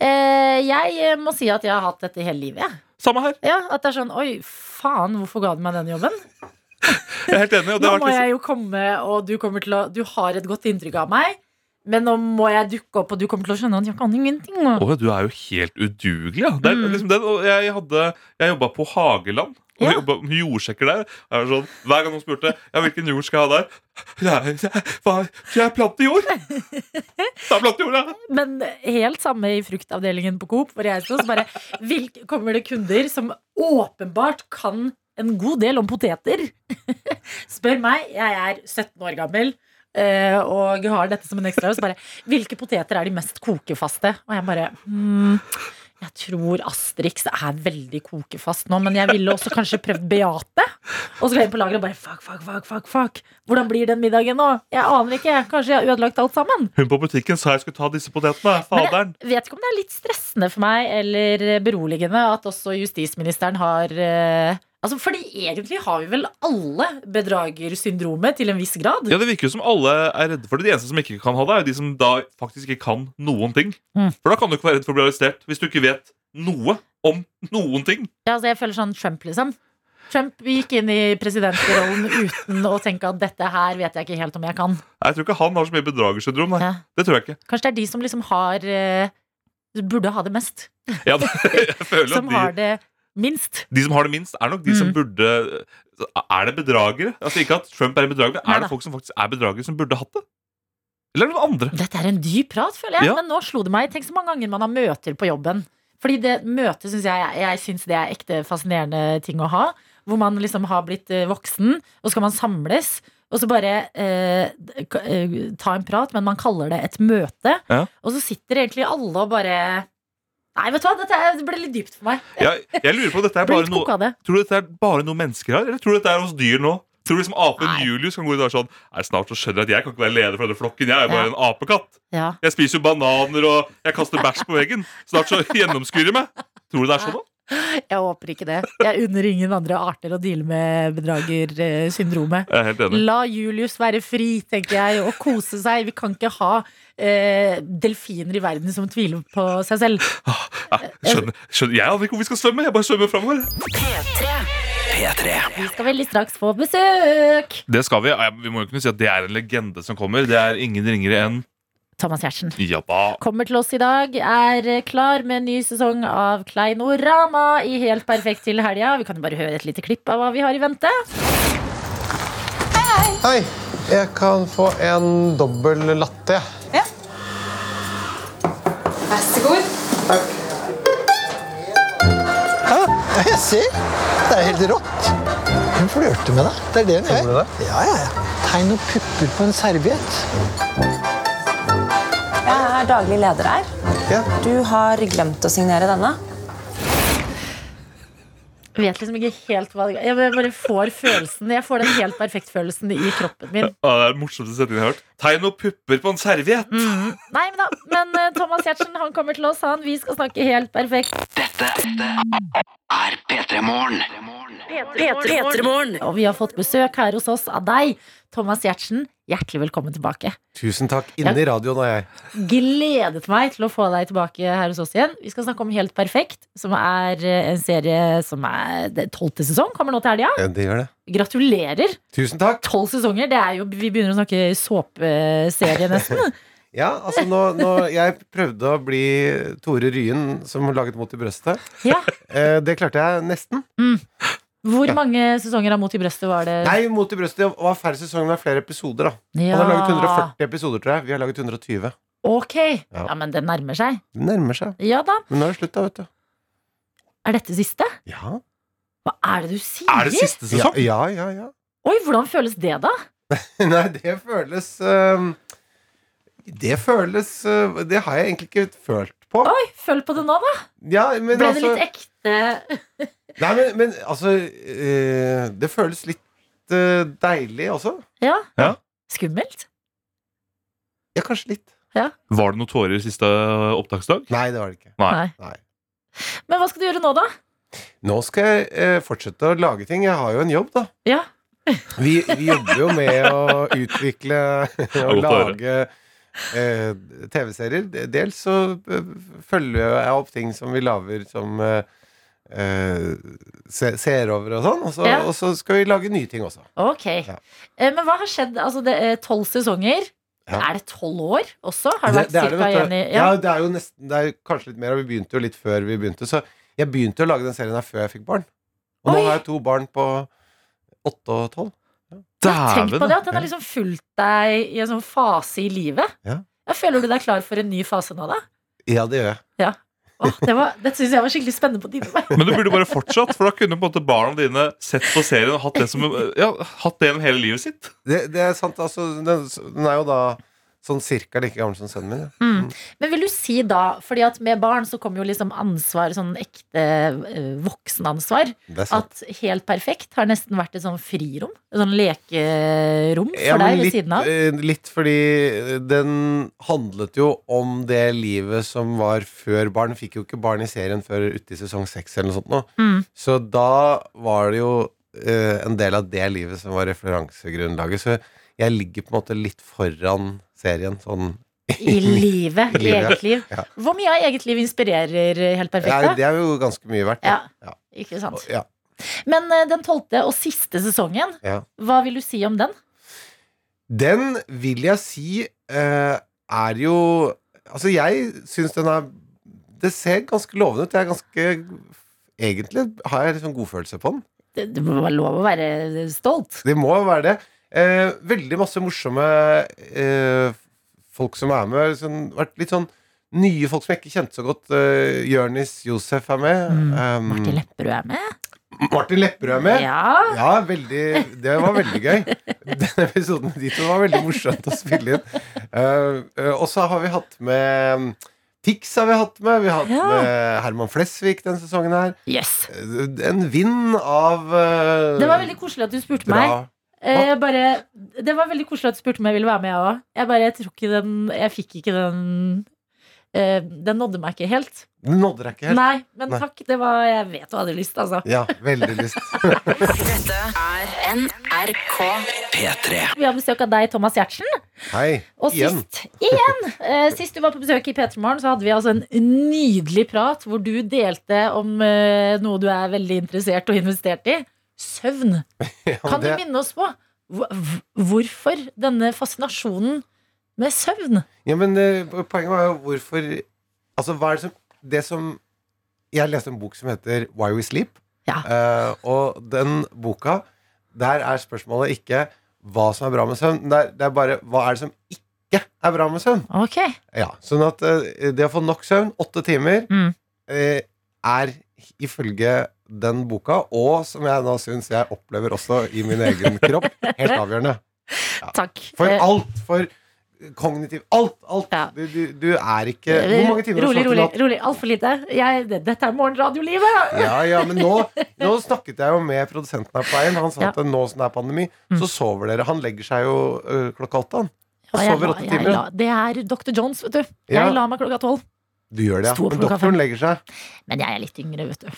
Eh, jeg eh, må si at jeg har hatt dette hele livet. jeg. Samme her. Ja, at det er sånn Oi, faen, hvorfor ga du meg denne jobben? Jeg er helt enig. Og det Nå har vært må liksom, jeg jo komme, og du kommer til å Du har et godt inntrykk av meg, men nå må jeg dukke opp, og du kommer til å skjønne at jeg kan ingenting. nå. Åh, du er jo helt udugelig, ja. Det er, liksom den, og jeg hadde, jeg jobba på Hageland. Og Mm. Ja. jeg jobba med jordsjekker der. Jeg var sånn, hver gang noen spurte ja, hvilken jord skal jeg ha der, Nei, jeg, hva- jeg planter jord! Da planter jord, ja! Men helt samme i fruktavdelingen på Coop, hvor jeg står, så bare hvilk, kommer det kunder som åpenbart kan en god del om poteter. Spør meg, jeg er 17 år gammel. eh, og har dette som en ekstra og så bare, Hvilke poteter er de mest kokefaste? Og jeg bare hmm, Jeg tror Asterix er veldig kokefast nå, men jeg ville også kanskje prøvd Beate. Og så går jeg inn på lageret og bare fuck, fuck, fuck, fuck, fuck. Hvordan blir den middagen nå? Jeg aner ikke. Kanskje jeg har ødelagt alt sammen. Hun på butikken sa jeg skulle ta disse potetene. Faderen. Jeg vet ikke om det er litt stressende for meg eller beroligende at også justisministeren har eh, Altså, fordi egentlig har vi vel alle bedragersyndromet til en viss grad. Ja, Det virker jo som alle er redde for det. De eneste som ikke kan ha det, er jo de som da faktisk ikke kan noen ting. Mm. For da kan du ikke være redd for å bli arrestert hvis du ikke vet noe om noen ting. Ja, altså, jeg føler sånn Trump, liksom. Trump gikk inn i presidentrollen uten å tenke at dette her vet jeg ikke helt om jeg kan. Nei, Jeg tror ikke han har så mye bedragersyndrom. Nei. Ja. Det tror jeg ikke. Kanskje det er de som liksom har eh, Burde ha det mest. Ja, jeg føler Som at de, har det minst. de som har det minst, er nok de som Mm. burde Er det bedragere? Altså Ikke at Trump er en bedrager, men er Neida. det folk som faktisk er bedragere, som burde hatt det? Eller er det noen andre? Dette er en dyp prat, føler jeg. Ja. Men nå slo det meg. Tenk så mange ganger man har møter på jobben. Fordi det møtet syns jeg, jeg synes det er ekte fascinerende ting å ha. Hvor man liksom har blitt eh, voksen, og så skal man samles. Og så bare eh, d- k- eh, ta en prat, men man kaller det et møte. Ja. Og så sitter egentlig alle og bare Nei, vet du hva, dette er- det ble litt dypt for meg. Jeg, jeg lurer på om dette er Jeg ble bare litt noe koka av det. Tror du dette er bare noe mennesker har, eller tror du dette er hos dyr nå? Tror du liksom apen Nei. Julius kan gå ut og være sånn Nei, snart så skjønner jeg at jeg kan ikke være leder for denne flokken. Jeg er jo Ja. bare en apekatt. Ja. Jeg spiser jo bananer, og jeg kaster bæsj på veggen. Snart så gjennomskuer de meg. Tror du det er sånn, da? Jeg håper ikke det. Jeg unner ingen andre arter å deale med bedragersyndromet. Jeg er helt enig. La Julius være fri, tenker jeg, og kose seg. Vi kan ikke ha eh, delfiner i verden som tviler på seg selv. Nei, skjønner, skjønner. Jeg aner ikke hvor vi skal svømme. Jeg bare svømmer framover. P3. Vi skal veldig straks få besøk! Det skal vi. Ja, Vi må jo kunne si at det er en legende som kommer. Det er ingen ringere enn Thomas Giertsen. Ja da. Kommer til oss i dag, er klar med en ny sesong av Kleinorama i Helt perfekt til helga. Vi kan jo bare høre et lite klipp av hva vi har i vente. Hei, jeg kan få en dobbel latte. jeg. Vær så god. Ja, jeg ser. Det er jo helt rått. Hun flørter med deg. Det er det hun gjør. Ja, ja, ja. Tegn noen pupper på en serviett. Jeg er daglig leder her. Du har glemt å signere denne. Jeg vet liksom ikke helt hva det er. Jeg bare får følelsen Jeg får den helt perfekt følelsen i kroppen min. Ja, det er den morsomste setningen jeg har hørt. Tegn noen pupper på en serviett. Mm. Nei, men, da, men eh, Thomas Giertsen han kommer til oss, han. Vi skal snakke helt perfekt. Dette er P3 Morgen. P3morgen. Og vi har fått besøk her hos oss av deg, Thomas Giertsen. Hjertelig velkommen tilbake. Tusen takk. Inne i radioen er jeg. Gledet meg til å få deg tilbake her hos oss igjen. Vi skal snakke om Helt perfekt, som er eh, en serie som er det tolvte sesong. Kommer nå til helga. Ja, Det gjør det. Gratulerer! Tusen takk. Tolv sesonger. Det er jo, vi begynner å snakke såpeserie, nesten. Ja, altså nå, nå Jeg prøvde å bli Tore Ryen, som laget Mot i brøstet. Ja. Eh, det klarte jeg nesten. Hvor Ja. mange sesonger av Mot i brøstet var det? Nei, Mot i brøstet var færre sesonger, men flere episoder, da. Han har laget 140 episoder, tror jeg. Vi har laget 120. Ok. Ja. Ja, men det nærmer seg. Det nærmer seg. Ja da. Men nå er det slutt, da, vet du. Er dette siste? Ja. Hva er det du sier? Er det siste Ja, sesong? ja, ja. ja. Oi, hvordan føles det, da? Nei, det føles eh, Det føles eh, Det har jeg egentlig ikke følt på. Oi, følg på det nå, da. Ja, men Ble det altså, litt ekte? Nei, men, men altså eh, Det føles litt eh, deilig også. Ja. Ja. Skummelt? Ja, kanskje litt. Var det noen tårer siste opptaksdag? Nei, det var det ikke. Nei. Nei. Men hva skal du gjøre nå, da? Nå skal jeg eh, fortsette å lage ting. Jeg har jo en jobb, da. Ja. Vi, vi jobber jo med å utvikle og godt å høre. lage eh, TV-serier. Dels så eh, følger jeg opp ting som vi lager som eh, eh, se, ser over og sånn. Og så, Ja. og så skal vi lage nye ting også. Ok. Ja. Eh, Men hva har skjedd? Altså, det er tolv sesonger. Ja. Er det tolv år også? Har du vært det cirka vet du. igjen i ja. det er jo nesten Det er kanskje litt mer, og vi begynte jo litt før vi begynte. Så jeg begynte å lage den serien her før jeg fikk barn. Og Oi. nå har jeg to barn på åtte og tolv. Tenk på Dæven! det, at den har liksom fulgt deg i en sånn fase i livet. Ja. Føler du deg klar for en ny fase nå, da? Ja, det gjør jeg. Åh, det var, det syns jeg var skikkelig spennende på dine vegne. Men du burde bare fortsatt, for da kunne på en måte barna dine sett på serien og hatt det, som, ja, hatt det gjennom hele livet sitt. Det, det er sant, altså den, den er jo da sånn cirka like gammel som sønnen min. Ja. Men vil du si da, fordi at med barn så kommer jo liksom ansvar, sånn ekte eh, voksenansvar, Det er sant. at Helt perfekt har nesten vært et sånn frirom, et sånn lekerom for Ja, men deg ved litt, siden av. eh, litt fordi den handlet jo om det livet som var før barn. Fikk jo ikke barn i serien før ute i sesong seks eller noe sånt. Nå. Mm. Så da var det jo eh, en del av det livet som var referansegrunnlaget. Så jeg ligger på en måte litt foran serien. Sånn I livet. I livet, eget liv. ja. Hvor mye av eget liv inspirerer Helt ja, perfekt? da? Det er jo ganske mye verdt. da. Ja. Ikke sant. Ja. Men eh, den tolvte og siste sesongen, Ja. hva vil du si om den? Den vil jeg si eh, er jo Altså, jeg syns den er Det ser ganske lovende ut. Jeg er ganske Egentlig har jeg liksom godfølelse på den. Det, det må være lov å være stolt. Det må jo være det. Eh, veldig masse morsomme eh, folk som er med. Sånn, vært litt sånn nye folk som jeg ikke kjente så godt. Eh, Jørnis Josef er med. Mm, Um, Martin Lepperød er med. Martin Lepperød er med. Ja. Ja. veldig, det var veldig gøy. Den episoden med de to var veldig morsomt å spille inn. Eh, eh, og så har vi hatt med Tix har vi hatt med. Vi har hatt Ja. med Herman Flesvig denne sesongen her. Yes. Eh, En vind av eh, Det var veldig koselig at du spurte meg. dra- Eh, Jeg bare, det var veldig koselig at du spurte om jeg ville være med, jeg òg. Jeg bare jeg tror ikke den Jeg fikk ikke den eh, Den nådde meg ikke helt. Den nådde deg ikke helt. Nei, men Nei. takk. Det var Jeg vet du hadde lyst, altså. Ja, veldig lyst. NRK. P3. Vi har besøk av deg, Thomas Giertsen. Hei. Og igjen. sist, igjen, eh, sist du var på besøk i P3 Morgen, så hadde vi altså en nydelig prat hvor du delte om eh, noe du er veldig interessert og investert i. Søvn. Ja, Kan du det- minne oss på hv- hv- hvorfor denne fascinasjonen med søvn? ja, men eh, poenget var jo hvorfor Altså, hva er det som Det som Jeg leste en bok som heter Why We Sleep. Ja. Eh, og den boka, der er spørsmålet ikke hva som er bra med søvn. men Det er, det er bare hva er det som ikke ikke er bra med søvn. Ok. Ja, sånn at eh, det å få nok søvn, åtte timer, Mm. eh, er ifølge den boka, og som jeg nå syns jeg opplever også i min egen kropp, helt avgjørende. Takk. For Eh, alt, for kognitiv Alt, alt. Du, du, du er ikke eh, Hvor mange timer har du Eh, rolig, snakket i rolig, natt? rolig. Altfor lite. Jeg, det, dette er morgenradiolivet! Ja, ja, men nå, nå snakket jeg jo med produsenten her på veien. Han sa Ja. Mm. at nå som det er pandemi, så sover dere. Han legger seg jo ø, klokka åtte, han. Ja, Og jeg sover la- åtte jeg timer. la- Det er Dr. Jones, vet du. Jeg Ja. la meg klokka tolv. Du gjør det, Sto ja. opp Men klokka fem. doktoren legger seg. Men jeg er litt yngre, vet du.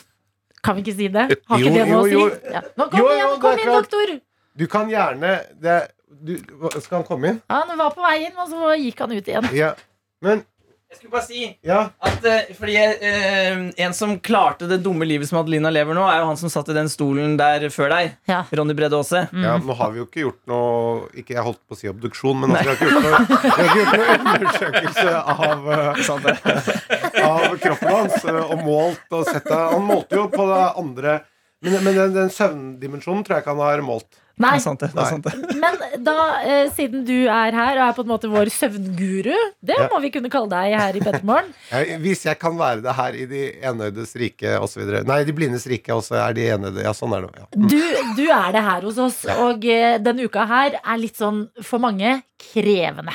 Kan vi ikke si det? Har Jo, ikke det noe jo, å si? jo. Ja. Nå kom Jo, jo, igjen, det kom er inn, klart. doktor! Du kan gjerne det, du, hva- Skal han komme inn? Han var på vei inn, og så gikk han ut igjen. Ja. Men Jeg skulle bare si ja, at eh, fordi eh, En som klarte det dumme livet som Adelina lever nå, er jo han som satt i den stolen der før deg. Ja. Mm. Ronny Brede Aase. ja, nå har vi jo ikke gjort noe Ikke jeg holdt på å si obduksjon, men altså, vi har ikke gjort noe, vi har ikke gjort noe undersøkelse av, ø, Sant det? av kroppen hans. ø, Og målt og sett det. Han målte jo på det andre Men, men den, den søvndimensjonen tror jeg ikke han har målt. Nei, Det er sant, det. det, er sant det. men da, eh, siden du er her og er på en måte vår søvnguru, det Ja. må vi kunne kalle deg her i Pettermorgen. Jeg, hvis jeg kan være det her i de enøydes rike osv. Nei, de blindes rike, og så er de enøyde. Ja, sånn er det. Ja. Du, du er det her hos oss, og eh, denne uka her er litt sånn for mange krevende.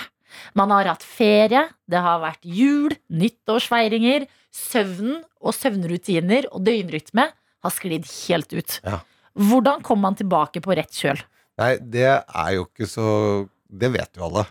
Man har hatt ferie, det har vært jul, nyttårsfeiringer, søvnen og søvnrutiner og døgnrytme har sklidd helt ut. Ja. Hvordan kom man tilbake på rett kjøl? Nei, det er jo ikke så Det vet jo alle.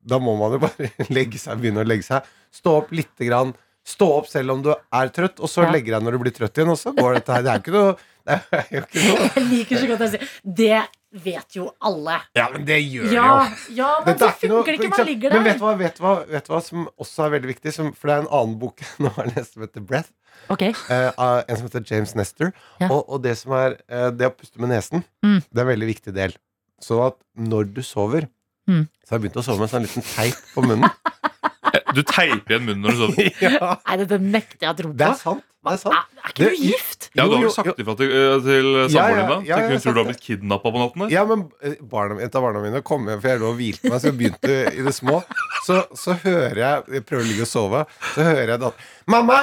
Da må man jo bare legge seg, begynne å legge seg. Stå opp lite grann. Stå opp selv om du er trøtt, og så Ja. legger deg når du blir trøtt igjen. Og så går dette her. Det er jo ikke noe Det er jo ikke noe Jeg liker så godt å si det vet jo alle. Ja, men det gjør Ja, jo ja men Dette så er ikke noe- funker det ikke. Man sant? ligger Men vet du, der. hva, vet, du hva, vet du hva som også er veldig viktig? Som, for det er en annen bok nå er det nesten som heter Breath. Ok. eh, av en som heter James Nestor. Ja. Og, og det som er eh, det å puste med nesen, Mm. det er en veldig viktig del. Så at når du sover Mm. Så har jeg begynt å sove med en sånn liten teip på munnen. Eh, Du teiper igjen munnen når du sover. ja, Nei, dette nekter jeg å tro det på. er sant. Det er sant. Er, er ikke Det- du gift? Ja, Jo, du har jo, vel sagt ifra til, eh, til Ja, ja, samboeren din, ja, da? jeg Tenker hun har tror du sagt har blitt kidnappa på natten? der? Ja, men eh, barna, et av barna mine kom hjem, for jeg lå og hvilte meg, så jeg begynte i det små. Så, så hører jeg Jeg prøver å ligge og sove. Så hører jeg datteren Mamma!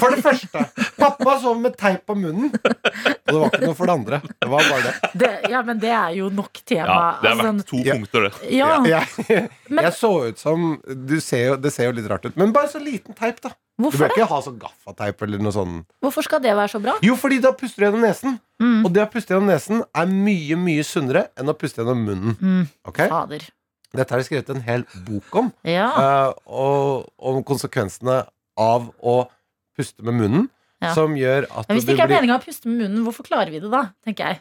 For det første, pappa sover med teip på munnen. Og det var ikke noe for det andre. Det var bare det. Det, ja, men det er jo nok tema. Ja, det er Altså, verdt to Ja. punkter, det. ja, Jeg, Men- jeg så ut som du ser jo, Det ser jo litt rart ut, men bare så liten teip, da. Du hvorfor, bør det? ikke ha sånn gaffateip eller noe sånn hvorfor skal det være så bra? Jo, fordi da puster du gjennom nesen. Mm. Og det å puste gjennom nesen er mye, mye sunnere enn å puste gjennom munnen. Mm. Ok? Fader. Dette er det skrevet en hel bok om. Ja. eh, og om konsekvensene av å puste med munnen, Ja. som gjør at Men hvis det ikke er blir- meninga å puste med munnen, hvorfor klarer vi det da? tenker jeg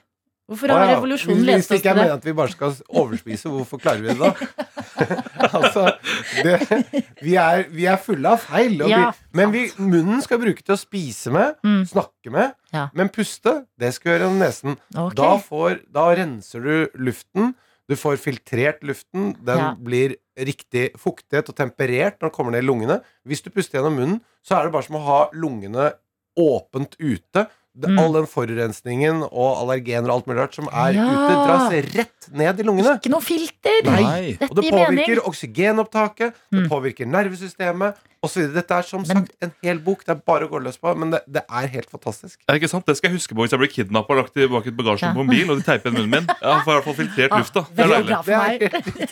Hvorfor Å, har ja. revolusjonen Hvis lest det oss ikke er til det? meningen at vi bare skal overspise, hvorfor klarer vi det da? altså, det, vi, er, vi er fulle av feil. Og Ja, vi, men vi, munnen skal bruke til å spise med, Mm. snakke med. Ja. Men puste, det skal gjøre gjennom nesen. Ok. Da, får, da renser du luften. Du får filtrert luften. Den Ja. blir riktig fuktighet og temperert når den kommer ned i lungene. Hvis du puster gjennom munnen, så er det bare som å ha lungene åpent ute. Det, Mm. All den forurensningen og allergener og alt mulig rart som er Ja. ute, dras rett ned i lungene. Ikke noe filter! Nei. Og Dette det gir påvirker mening. oksygenopptaket, Mm. det påvirker nervesystemet osv. Dette er som Men- sagt en hel bok. Det er bare å gå løs på, men det, det er helt fantastisk. Ja, ikke sant? Det skal jeg huske på hvis jeg blir kidnappa og lagt i bak i bagasjen Ja. på en bil, og de teiper igjen munnen min. Jeg får i hvert fall filtrert Ah, lufta. Det er veldig deilig. bra for meg.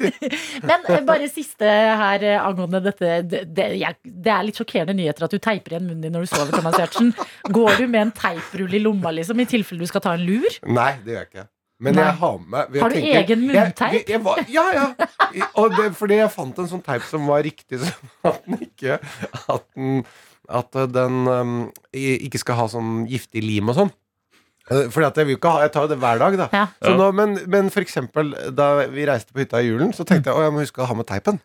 Men eh, bare siste her eh, angående dette. Det, det, jeg, det er litt sjokkerende nyheter at du teiper igjen munnen din når du sover. Thomas Giertsen. Går du med en teiprull i lomma liksom, i tilfelle du skal ta en lur? Nei, det gjør jeg ikke. Men Nei. jeg har med meg jeg Har du egen munnteip? Jeg, jeg, jeg var, ja, ja. I- Og det, fordi jeg fant en sånn teip som var riktig, så at den ikke At den, at den um, i- ikke skal ha sånn giftig lim og sånn. Eh, Fordi at jeg vil jo ikke ha Jeg tar jo det hver dag, da. Ja. Så Ja. nå, men, men for eksempel da vi reiste på hytta i julen, så tenkte jeg å, jeg må huske å ha med teipen.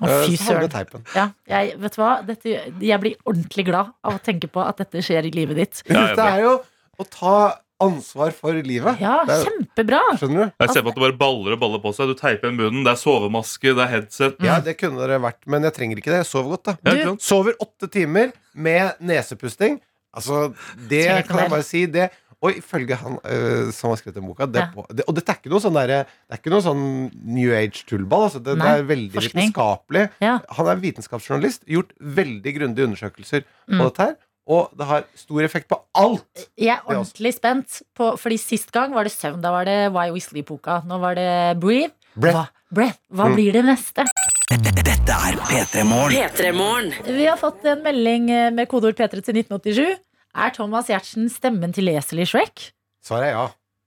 Å, Eh, fy så hadde søren. jeg teipen. Ja, jeg, vet du hva? Dette, jeg blir ordentlig glad av å tenke på at dette skjer i livet ditt. Ja, ja, det er jo å ta ansvar for livet. Ja, Det er- kjempebra! skjønner du? Jeg ser på at det bare baller og baller på seg. Du teiper igjen munnen, det er sovemaske, det er headset. Ja, det kunne det vært, men jeg trenger Mm. ikke det. Jeg sover godt, da. Ja, ikke sant? Sover åtte timer med nesepusting. Altså, det Trenger ikke kan jeg mer. bare si. Det. Og ifølge han øh, som har skrevet den boka det, på- det, Og dette er ikke noe sånn derre- Det er ikke noe sånn New Age-tullball. Altså, det, det Nei, er veldig forskning. vitenskapelig. Ja. Han er vitenskapsjournalist. Gjort veldig grundige undersøkelser på Mm. dette her. Og det har stor effekt på alt. Jeg er Det også. ordentlig spent, på, fordi sist gang var det søvn. Da var det Why We Sleep-boka. Nå var det Breathe. Breath. Breath. Hva Mm. blir det neste? Dette er P3 Morgen. P3morgen. Vi har fått en melding eh, med kodeord P3 til 1987. Er Thomas Giertsen stemmen til Esel i Shrek? Svaret er ja.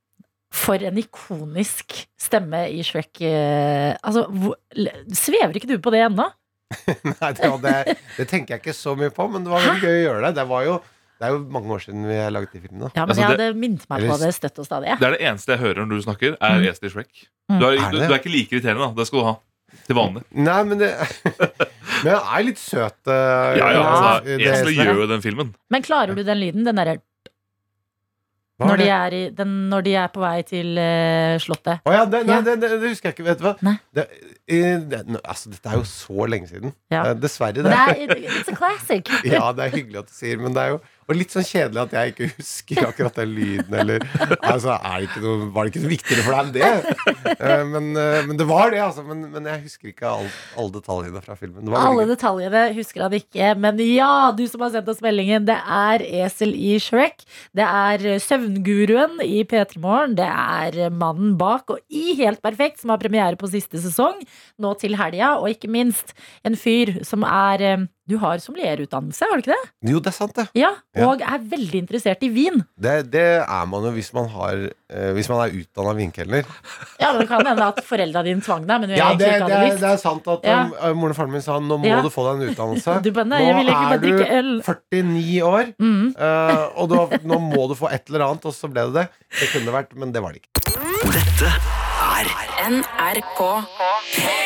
For en ikonisk stemme i Shrek. eh, Altså, hvor- l- svever ikke du på det ennå? Nei, det, var det, det tenker jeg ikke så mye på, men det var veldig gøy å gjøre det. Det, var jo, det er jo mange år siden vi har laget de filmene. Ja, men Altså, jeg det- hadde minnet meg på Eller- det støtt og stadig. jeg. Det er det eneste jeg hører når du snakker, er Mm. Esel i Shrek. Mm. Du er, Er du, det? du er ikke like irriterende, da. Det skal du ha. Til vanlig. Nei, men det Men han er litt søt. eh, Ja, ja, Ja. altså, det- Esel det- gjør jo den filmen. Men klarer du den lyden? Den derre Hva er når, de det? er i- den- når de er på vei til eh, Slottet. Å ja, det, nei, Ja. det, det, det husker jeg ikke. Vet du hva? Nei. Det, eh, det, nå, altså, dette er jo så lenge siden. Ja. Eh, Dessverre. Det er, Nei, it's a classic. ja, det er hyggelig at du sier, men det er jo og litt sånn kjedelig at jeg ikke husker akkurat den lyden. Eller, altså, er det ikke noe, var det ikke noe viktigere for deg enn det? Eh, Men, eh, men det var det, altså. Men, men jeg husker ikke alle all detaljene fra filmen. Det var veldig Alle gøy. detaljene husker han ikke, men ja, du som har sendt oss meldingen, det er Esel i Shrek. Det er eh, Søvnguruen i P3 Morgen. Det er eh, mannen bak og i Helt perfekt, som har premiere på siste sesong, nå til helga. Og ikke minst en fyr som er eh, Du har sommelierutdannelse, har du ikke det? Jo, det er sant, det. Ja, Ja. Og er veldig interessert i vin. Det, det er man jo hvis man, har, eh, hvis man er utdanna vinkelner. Ja, men Det kan hende at foreldra dine tvang deg, men du Ja, det, egentlig ikke det, hadde er, lyst. det er sant at Ja. um, uh, moren og faren min sa nå må Ja. du få deg en utdannelse. Du bare, nei, jeg vil nå ikke bare er du drikke øl. 49 år, Mhm. uh, og du, har- nå må du få et eller annet. Og så ble det det. Det kunne det vært, men det var det ikke. Dette er NRK.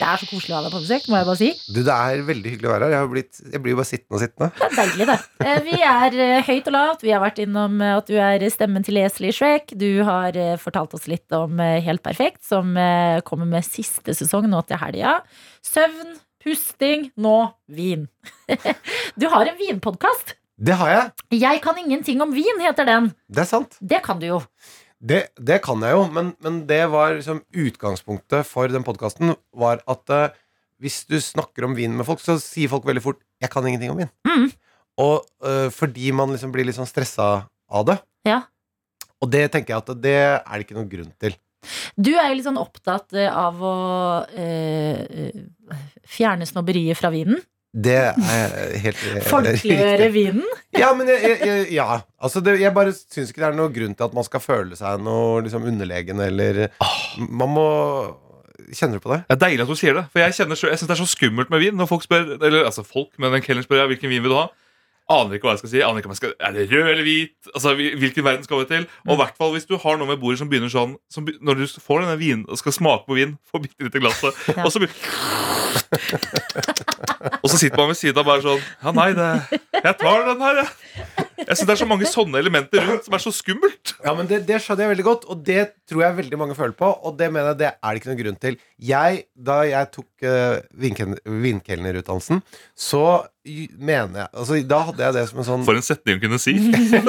Det er så koselig å ha deg på besøk, må jeg bare si. Du, Det er veldig hyggelig å være her. Jeg, har blitt, jeg blir jo bare sittende og sittende. Det er deilig, det. Eh, Vi er eh, høyt og lavt. Vi har vært innom eh, at du er stemmen til Esel i Shrek. Du har eh, fortalt oss litt om eh, Helt perfekt, som eh, kommer med siste sesong nå til helga. Søvn, pusting, nå vin. Du har en vinpodkast. Det har jeg. Jeg kan ingenting om vin, heter den. Det er sant. Det kan du jo. Det, det kan jeg jo, men, men det var liksom utgangspunktet for den podkasten. Var at eh, hvis du snakker om vin med folk, så sier folk veldig fort 'jeg kan ingenting om vin'. Mm. Og eh, fordi man liksom blir litt sånn stressa av det. Ja. Og det tenker jeg at det er det ikke noen grunn til. Du er jo litt sånn opptatt eh, av å eh, eh, fjerne snobberiet fra vinen. Det er helt eh, Folkeliggjøre riktig. vinen. Ja, men jeg, jeg, jeg, ja. Altså, det, jeg bare syns ikke det er noen grunn til at man skal føle seg noe liksom, underlegen eller Ah. Man må Kjenner du på det? Det er deilig at du sier det. For jeg, kjenner, så- jeg synes det er så skummelt med vin. Når folk spør, eller altså folk, men en kelner spør ja, hvilken vin vil du ha. Aner ikke hva jeg skal si. Aner ikke om jeg skal, Er det rød eller hvit? Altså, hvil- Hvilken verden skal vi til? Og i hvert fall hvis du har noe med bordet som begynner sånn som, be- Når du får denne vinen og skal smake på vin, får bitte lite glasset, Ja. og så blir Og så sitter man ved siden av bare sånn Ja, nei, det, jeg tar den her, jeg. Jeg syns det er så mange sånne elementer rundt som er så skummelt. Ja, men det, det skjønner jeg veldig godt, og det tror jeg veldig mange føler på. Og det mener jeg det er det ikke noen grunn til. Jeg, da jeg tok eh, vinkel- vinkelnerutdannelsen, så y- mener jeg altså, Da hadde jeg det som en sånn For en setning å kunne si.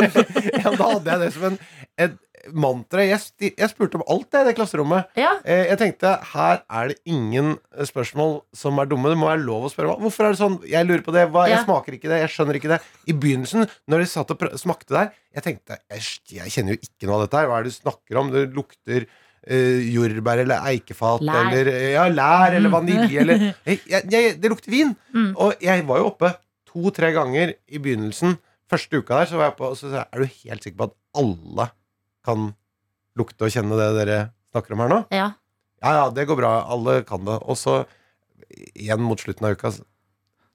ja, Da hadde jeg det som en, et mantra. Jeg, sti- jeg spurte om alt det i det klasserommet. Ja. Eh, Jeg tenkte, her er det ingen eh, spørsmål som er dumme. Det må være lov å spørre. hva- Hvorfor er det sånn? Jeg lurer på det. Hva? Ja. Jeg smaker ikke det. Jeg skjønner ikke det. I begynnelsen, når de satt og prø- smakte der, jeg tenkte, "Æsj, jeg kjenner jo ikke noe av dette her. Hva er det du snakker om? Det lukter eh, jordbær eller eikefat Lær. eller eh, ja, lær eller vanilje eller jeg, jeg, jeg, Det lukter vin! Mm. Og jeg var jo oppe to-tre ganger i begynnelsen. Første uka der så var jeg oppe og så sa jeg, er du helt sikker på at alle kan lukte og kjenne det dere snakker om her nå? Ja. Ja, ja, det går bra. Alle kan det. Og så igjen mot slutten av uka så-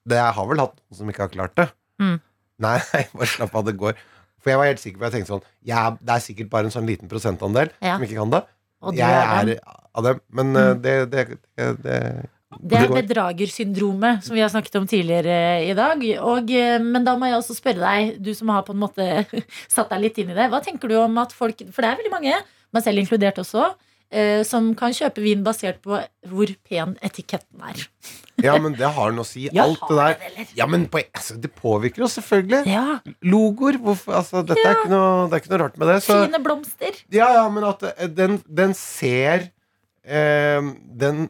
det, Jeg har vel hatt noen som ikke har klart det. Mm. Nei, nei, bare slapp av, det går. For jeg var helt sikker på Jeg tenkte sånn ja, Det er sikkert bare en sånn liten prosentandel Ja. som ikke kan det. Og du Jeg er Mm. den. er av dem. Men eh, det, det, det, det Det er går. bedragersyndromet som vi har snakket om tidligere i dag. Og, eh, men da må jeg også spørre deg, du som har på en måte satt deg litt inn i det. Hva tenker du om at folk, for det er veldig mange, meg selv inkludert også, eh, som kan kjøpe vin basert på hvor pen etiketten er. Ja, men det har noe å si. Alt det der. Ja, men på, altså, det påvirker oss selvfølgelig. Logoer. Hvorfor, altså, dette er ikke noe, det er ikke noe rart med det. Så, Fine blomster. ja, ja, men at eh, den, den ser eh, Den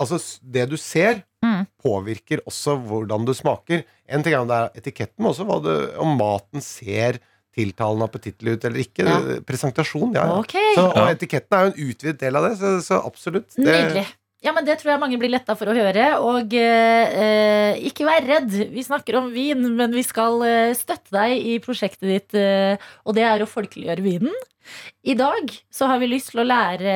Altså, s- det du ser, Mm. påvirker også hvordan du smaker. En ting er om det er etiketten, men også hva du, om maten ser tiltalende appetittlig ut eller ikke. Presentasjon, ja. ja. Ok. Så, og Ja. etiketten er jo en utvidet del av det, så, så absolutt. Det, Nydelig. Ja, men Det tror jeg mange blir letta for å høre. Og eh, eh, ikke vær redd. Vi snakker om vin, men vi skal eh, støtte deg i prosjektet ditt. Eh, og det er å folkeliggjøre vinen. I dag så har vi lyst til å lære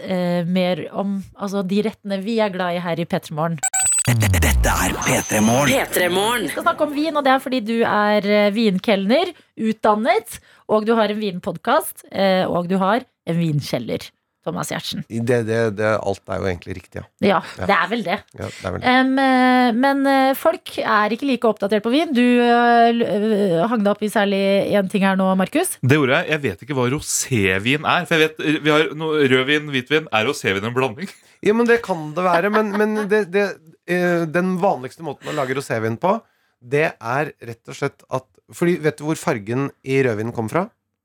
eh, mer om altså, de rettene vi er glad i her i P3 Morgen. Dette er P3 Morgen. Vi skal snakke om vin, og det er fordi du er eh, vinkelner, utdannet, og du har en vinpodkast, eh, og du har en vinkjeller. Thomas Giertsen. det, det, det, alt er jo egentlig riktig, ja. Ja, det er vel det. Ja, det er vel det. Em, eh, men eh, folk er ikke like oppdatert på vin. Du eh, l- eh, hang deg opp i særlig én ting her nå, Markus. Det gjorde jeg. Jeg vet ikke hva rosévin er. For jeg vet, eh, vi har noe Rødvin, hvitvin. Er rosévin en blanding? Ja, men det kan det være. Men, men det, det, eh, den vanligste måten å lage rosévin på, det er rett og slett at Fordi vet du hvor fargen i rødvinen kommer fra?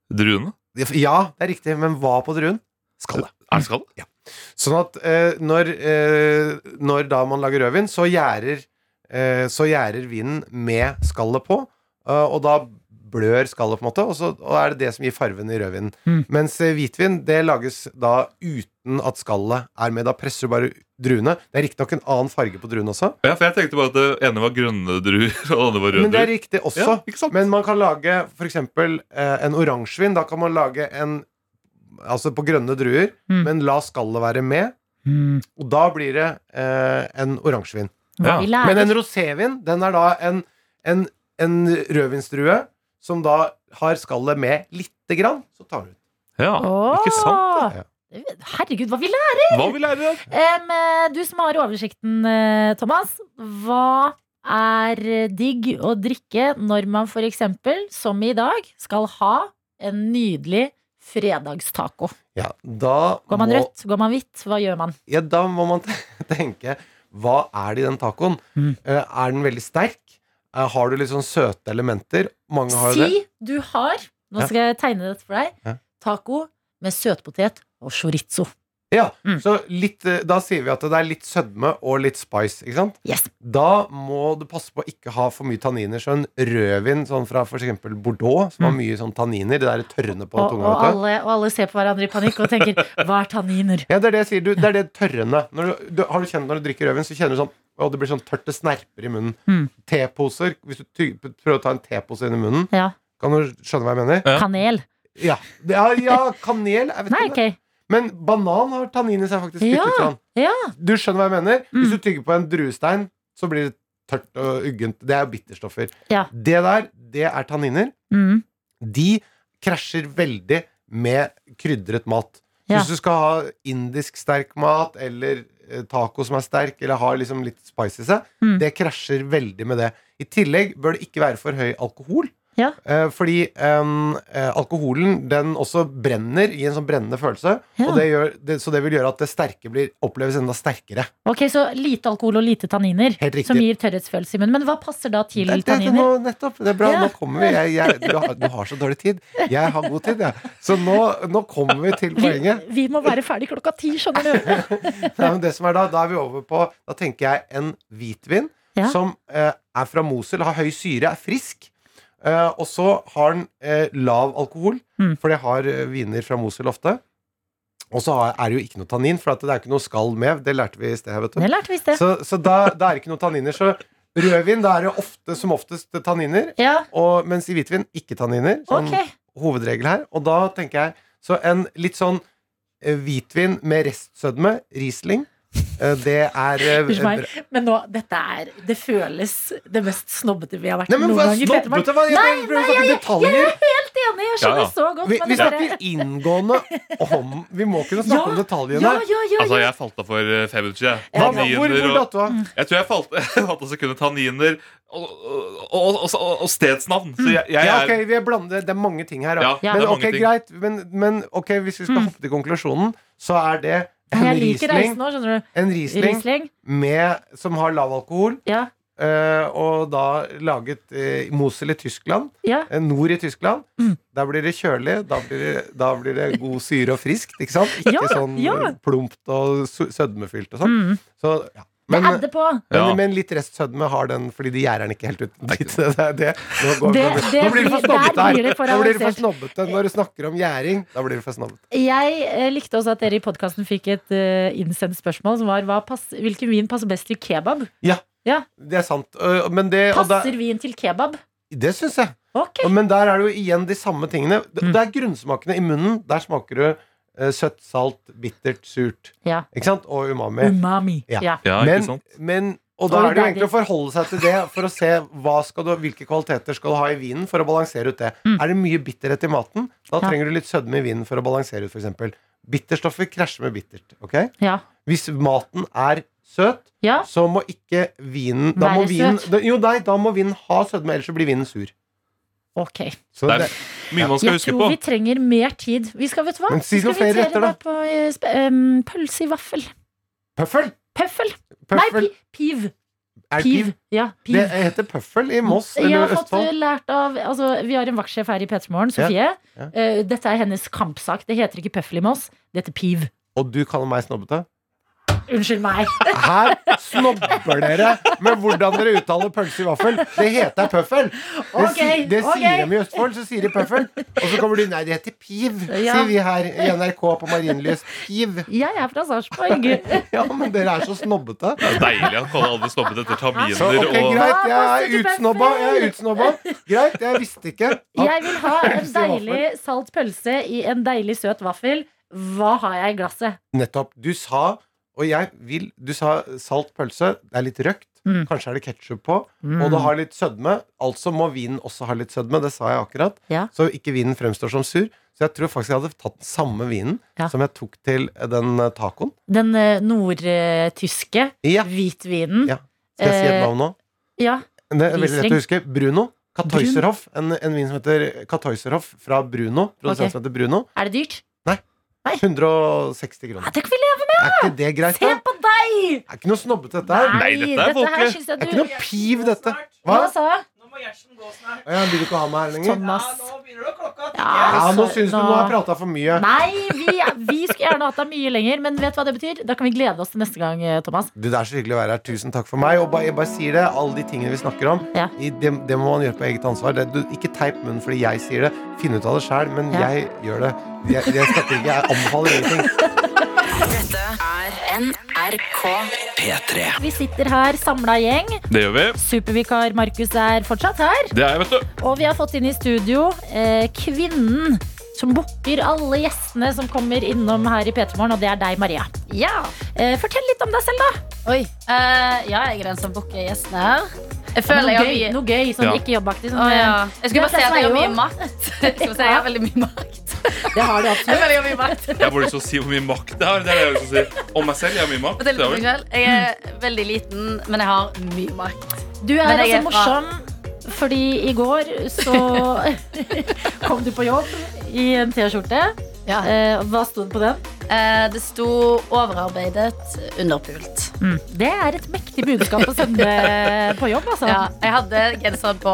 Druene? Ja, det er riktig, men hva på druen? Skallet. Er det skallet? Ja. Sånn at eh, når, eh, når da man lager rødvin, så gjærer, eh, så gjærer vinen med skallet på, eh, og da blør skallet, på en måte, og så og er det det som gir farven i rødvinen. Mm. Mens eh, hvitvin det lages da uten at skallet er med. Da presser du bare druene. Det er riktignok en annen farge på druene også, Ja, for jeg tenkte bare at det ene var grønne druer, og det andre var røde druer. men det er riktig også. Ja. men man kan lage f.eks. Eh, en oransjevin. Da kan man lage en Altså på grønne druer, men la skallet være med. Og da blir det eh, en oransjevin. Hva vi lærer. Men en rosévin, den er da en, en, en rødvinsdrue som da har skallet med lite grann, så tar du ut. Ja, ikke sant? Herregud, hva vi lærer! Hva vi lærer? Em, eh, du som har oversikten, eh, Thomas. Hva er eh, digg å drikke når man f.eks., som i dag, skal ha en nydelig fredagstaco? Ja, da Går man må- rødt? Går man hvitt? Hva gjør man? Ja, da må man tenke Hva er det i den tacoen? Mm. Eh, Er den veldig sterk? Eh, Har du litt sånn søte elementer? Mange har jo det. Si du har Nå Ja. skal jeg tegne dette for deg. Ja. Taco med søtpotet og chorizo. Ja, Mm. så litt, eh, Da sier vi at det er litt sødme og litt spice. ikke sant? Da må du passe på å ikke ha for mye tanniner. Så en rødvin sånn fra f.eks. Bordeaux, som har mye sånn tanniner, det der tørrende på Mm. Og, og, tunga vet du. alle, og alle ser på hverandre i panikk og tenker 'hva er tanniner'? Ja, det er det jeg sier. Du, det er det tørrende. Når du, du, har du kjent når du drikker rødvin, så kjenner du sånn og det blir sånn tørt, det snerper i munnen. Mm. Teposer. Hvis du ty prøver å ta en tepose inn i munnen, Ja. kan du skjønne hva jeg mener? Kanel. Ja, det er, ja kanel jeg vet Nei, ikke om det- Men banan har tannin i seg faktisk litt Ja, ut fra den. ja. Mm. Du skjønner hva jeg mener? Hvis du tygger på en druestein, så blir det tørt og uggent. Det er jo bitterstoffer. Ja. Det der, det er tanniner. Mm. De krasjer veldig med krydret mat. Så Ja. Hvis du skal ha indisk sterk mat, eller eh, taco som er sterk, eller har liksom litt spice i seg, Mm. det krasjer veldig med det. I tillegg bør det ikke være for høy alkohol. Ja. Eh, fordi em, eh, alkoholen den også brenner, gir en sånn brennende følelse. Ja. Og det gjør, det, så det vil gjøre at det sterke blir, oppleves enda sterkere. Ok, Så lite alkohol og lite tanniner, Helt riktig. som gir tørrhetsfølelse i munnen. Men hva passer da til Det er det- det er tanniner? nå- nettopp. Det er bra. Ja. Nå kommer vi. Jeg, jeg, du, har, du har så dårlig tid. Jeg har god tid, jeg. Så nå, nå kommer vi til poenget. Vi må være ferdig klokka ti, skjønner du. Nei, men det som er da, da er vi over på Da tenker jeg en hvitvin Ja. som eh, er fra Mosul, har høy syre, er frisk. Eh, og så har den eh, lav alkohol, Mm. for det har eh, viner fra Mosul ofte. Og så har- er det jo ikke noe tannin, for at det er ikke noe skall med. Det lærte vi i sted. Vet du. Det lærte vi i sted. Så, så da, da er det ikke noe tanniner. Så rødvin, da er det ofte som oftest tanniner. Og, mens i hvitvin, ikke tanniner. Sånn Ok. hovedregel her. Og da tenker jeg Så en litt sånn eh, hvitvin med restsødme, Riesling, eh, det er eh, Unnskyld meg. bra. Men nå, dette er Det føles det mest snobbete vi har vært Nei, men noen hva gang i Petermann. snobbete? Hva- jeg Nei, prøver å nei, snakke jeg, jeg, detaljer. er helt enig! Jeg skjønner så godt. Vi, men vi det bare- snakker inngående om Vi må kunne snakke om detaljene. ja, ja, ja, Altså, jeg falt av for eh, fem minutter. jeg. Hva- hvor- hvor Tanniner datt du av? Jeg tror jeg falt, jeg falt av sekundet tanniner og, og, og, og, og stedsnavn. Så jeg, jeg ja, er ok, vi er blandet, Det er mange ting her. da. Ja, det er men, mange ok, ting. greit, men, men ok, hvis vi skal Mm. hoppe til konklusjonen, så er det en Jeg liker Riesling. reisen nå, skjønner du. En Riesling, Riesling. med, som har lav alkohol. Ja. eh, og da laget eh, i Mosel i Tyskland. Ja. eh, Nord i Tyskland. Mm. Der blir det kjølig. Da blir det, da blir det god syre og friskt. Ikke sant? Ikke Ja, sånn ja. eh, plumpt og sø- sødmefylt og sånn. Mm. Så, ja. det er det på. Men, eh, Ja. men litt restsødme har den, fordi de gjerder den ikke helt ut. Dit. Det, er det. Nå, går, Det- nå, blir- det nå blir det blir- der for snobbete blir her. det for Nå blir det for avansert. snobbete Når du snakker om gjæring, da blir det for snobbete. Jeg eh, likte også at dere i podkasten fikk et eh, innsendt spørsmål som var hva pass, hvilken vin passer best til kebab. Ja, Ja. det er sant. Øh, Men det, og da- Passer vin til kebab? det syns jeg. Ok. Og- Men der er det jo igjen de samme tingene. Det, Mm. det er grunnsmakene i munnen. Der smaker du eh, søtt, salt, bittert, surt. Ja. Ikke sant? Og umami. Umami. Ja. Ja. Ja, ikke men, sant? men, og da Og er det jo der- egentlig å forholde seg til det for å se hva skal du, hvilke kvaliteter skal du ha i vinen for å balansere ut det. Er det mye bitterhet i maten, da Mm. Ja. trenger du litt sødme i vinen for å balansere ut f.eks. Bitterstoffer krasjer med bittert. ok? Ja. Hvis maten er søt, Ja. så må ikke vinen da Være må vinen, søt. da, Jo, nei, da må vinen ha sødme, ellers så blir vinen sur. Ok. Så Det er det, mye man skal Jeg huske tror på. vi trenger mer tid. Vi skal, vet du hva? Men si Vi skal noen flere invitere retter, da. deg På, eh, sp- em, pølse i vaffel. pøffel! Pøffel. Nei, pøffel. pi, piv. er det Piv. piv? Ja, piv. Det heter pøffel i Moss jeg har eller fått eh, Østfold. lært av altså, Vi har en vaktsjef her i Petermorgen, Sofie. Ja. Eh, dette er hennes kampsak. Det heter ikke pøffel i Moss, det heter piv. Og du kaller meg snobbete? Unnskyld meg. Her snobber dere med hvordan dere uttaler pølse i vaffel. Det heter pøffel. Det, si, Ok, det ok. sier de i Østfold, så sier de pøffel. Og så kommer de Nei, det heter piv, Ja. sier vi her i NRK på Marienlyst. Piv. Jeg er fra Sarpsborg. Ja, men dere er så snobbete. Det er deilig å kalle alle snobbete etter Så, taminer og ok, greit, jeg er Hva passer til utsnobba. Jeg er utsnobba. Greit, jeg visste ikke. Jeg vil ha en Pølse i vaffel. deilig salt pølse i en deilig søt vaffel. Hva har jeg i glasset? Nettopp. Du sa og jeg vil, Du sa salt pølse. Det er litt røkt. Mm. Kanskje er det ketsjup på. Mm. Og det har litt sødme. Altså må vinen også ha litt sødme. Det sa jeg akkurat. Ja. Så ikke vinen fremstår som sur. Så jeg tror faktisk jeg hadde tatt den samme vinen Ja. som jeg tok til den eh, tacoen. Den eh, nordtyske Ja. hvitvinen. Ja. Skal jeg si et Eh, navn nå? Ja. Det er veldig lett Riesling. å huske. Bruno. Katoiserhoff. En, en vin som heter Katoiserhoff fra Bruno. Produsent Ok. som heter Bruno. Er det dyrt? 160 Ja, kroner. det kan vi leve med! Er ikke det greit, Se da? på deg! Det er ikke noe snobbete, dette her. Nei, dette er her folkelig. syns jeg Det er du ikke noe piv, dette. Hva Hva? sa jeg? Nå må Gjertsen gå snart. Å, Jeg vil ikke ha meg her lenger. Thomas. begynner det klokka Ja. Ja, nå Altså, syns du nå- nå har jeg prata for mye. Nei, vi, vi skulle gjerne hatt deg mye lenger, men vet du hva det betyr? Da kan vi glede oss til neste gang, eh, Thomas. Du, Det er så hyggelig å være her. Tusen takk for meg. Og bare, jeg bare sier det, alle de tingene vi snakker om, Ja. i- det, det må man gjøre på eget ansvar. Det, du, ikke teip munnen fordi jeg sier det. Finn ut av det sjæl, men Ja. jeg gjør det. Jeg, jeg, snakker ikke, jeg anbefaler ingenting. Dette er NRK. P3. Vi sitter her samla gjeng. Det gjør vi. Supervikar Markus er fortsatt her. Det er jeg, vet du. Og vi har fått inn i studio eh, kvinnen som booker alle gjestene som kommer innom her i P3 Morgen, og det er deg, Maria. Ja. Eh, fortell litt om deg selv, da. Oi. eh, ja, jeg er den som booker gjestene her. Jeg føler noe, jeg har gøy, mye noe gøy, sånn Ja. ikke jobbaktig. Sånn, Å, ja. eh, Jeg skulle Det bare si at jeg er har jo- mye makt. Jeg skulle si at jeg har veldig mye makt. Det har du Jeg absolutt. føler jeg har mye makt. Jeg får lyst til å si hvor mye makt jeg har. Det er det jeg har lyst til å si. Om meg selv, jeg har mye makt. Fortell litt Det om har meg jeg. selv. Jeg er veldig liten, men jeg har mye makt. Du er Men altså jeg er fra- morsom fordi i går så kom du på jobb i en T-skjorte. Ja. Eh, hva sto det på den? Eh, det sto 'overarbeidet, underpult'. Det er et mektig budskap å sende på jobb, altså. Ja, jeg hadde genseren på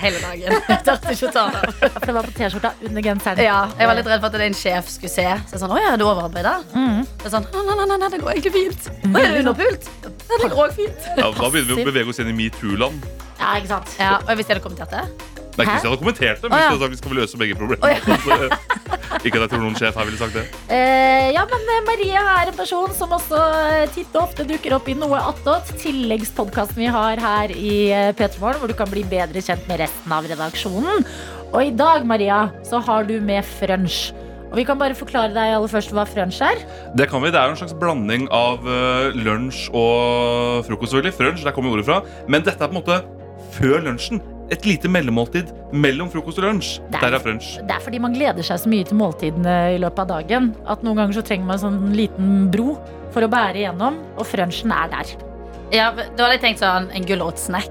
hele dagen. Jeg turte ikke å ta den av. For det var på T-skjorta under genseren. Ja, jeg var litt redd for at en sjef skulle se. Så jeg sånn, Å ja, er du overarbeida? Mhm. Det er sånn, nei, nei, nei, nei, det går egentlig fint. Å, er du underpult? Ja, Det går også fint. Ja, da begynner vi å bevege oss inn i metoo-land. Ja, ikke sant? Ja, og hvis jeg hadde kommentert det? Nei, ikke hvis jeg hadde kommentert det, men Å, ja. hvis jeg hadde sagt vi skal løse begge problemene. Så- Ikke at jeg tror noen sjef her ville sagt det. Eh, ja, men eh, Maria er en person som også eh, titt og ofte dukker opp i noe attåt. Tilleggspodkasten vi har her i eh, P3morgen, hvor du kan bli bedre kjent med resten av redaksjonen. Og i dag, Maria, så har du med frunch. Og vi kan bare forklare deg aller først hva frunch er. Det kan vi, det er jo en slags blanding av eh, lunsj og frokost. selvfølgelig Frunch, der kommer ordet fra. Men dette er på en måte før lunsjen. Et lite mellommåltid mellom frokost og lunsj. Det er- Der er frunch. Det er fordi man gleder seg så mye til måltidene i løpet av dagen. At noen ganger så trenger man en sånn liten bro for å bære igjennom, og frunchen er der. Ja, Da hadde jeg tenkt sånn en gulrotsnack.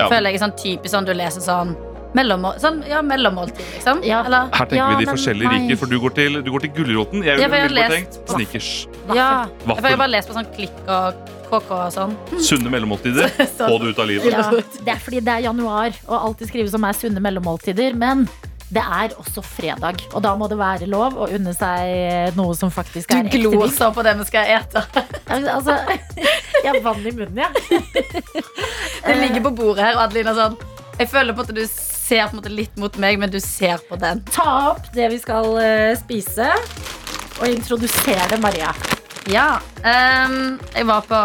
Ja. Føler jeg er sånn typisk sånn du leser sånn Mellommål, sånn, ja, mellommåltid, liksom. Eller, Her tenker ja, vi de men forskjellige nei. riker, for du går til, du går til gulroten. Jeg Ja, for ville jeg har ville lest tenkt Snickers. Ja, Vaffel. for jeg har bare lest på sånn klikk og KK og sånn. Sunne mellommåltider. Få det ut av livet. Ja, det er fordi det er januar, og alt det skrives om er sunne mellommåltider. Men det er også fredag, og da må det være lov å unne seg noe som faktisk er Du gloser liksom på det vi skal ete. Altså, jeg har vann i munnen, jeg. Det ligger på bordet her, og Adeline er sånn Jeg føler på at du ser på en måte litt mot meg, men du ser på den. Ta opp det vi skal eh, spise, og introdusere Maria. Ja. ehm, jeg var på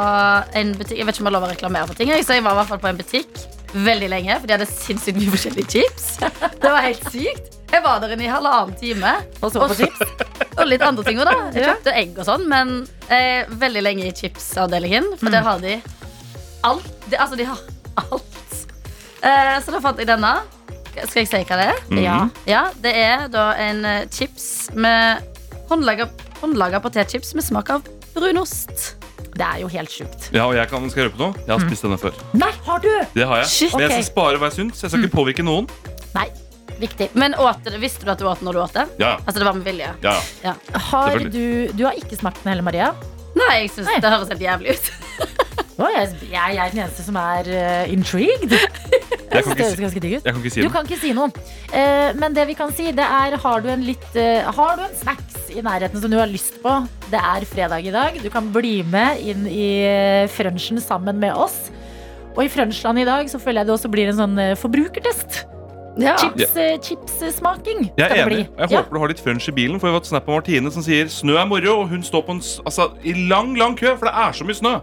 en butikk Jeg vet ikke om jeg har lov å reklamere for ting. jeg, Så jeg var i hvert fall på en butikk veldig lenge, for de hadde sinnssykt mye forskjellige chips. Det var helt sykt. Jeg var der inne i halvannen time. Og så på chips? Og litt andre ting òg, da. Jeg kjøpte egg og sånn, men eh, veldig lenge i chipsavdelingen, for Mm. der har de alt. De, altså, de har alt. Eh, så da fant jeg denne. Skal jeg si hva det er? Mm. Mhm. Ja. Ja, det er da en eh, chips med håndlaga, håndlaga potetchips med smak av brunost. Det er jo helt sjukt. Ja, og jeg kan, skal jeg røpe noe? Jeg har spist denne før. Nei, har du? Det har jeg. Shit. Men jeg Ok. skal spare hva jeg syns. Jeg skal ikke påvirke noen. Nei, viktig. Men åt, du- visste du at du åt når du åt det? Ja, ja. Altså, det var med vilje? ja. ja. Ja. Har Selvfølgelig. du, du har ikke smakt den heller, Maria? Nei, jeg syns det høres helt jævlig ut. Å, jeg, jeg er den eneste som er eh, intrigued. Jeg Det kan ikke høres si, ganske digg ut. jeg kan ikke si Du det. kan ikke si noe. Eh, men det vi kan si, det er har du en litt eh, Har du en snacks i nærheten som du har lyst på? Det er fredag i dag. Du kan bli med inn i eh, frunchen sammen med oss. Og i Frønsland i dag så føler jeg det også blir en sånn eh, forbrukertest. Ja. Chips, eh, chipssmaking. Jeg skal er det enig. bli. Jeg håper du har litt frunch i bilen. For jeg har fått snap av Martine som sier snø er moro. Og hun står på en, s- altså, i lang, lang kø, for det er så mye snø.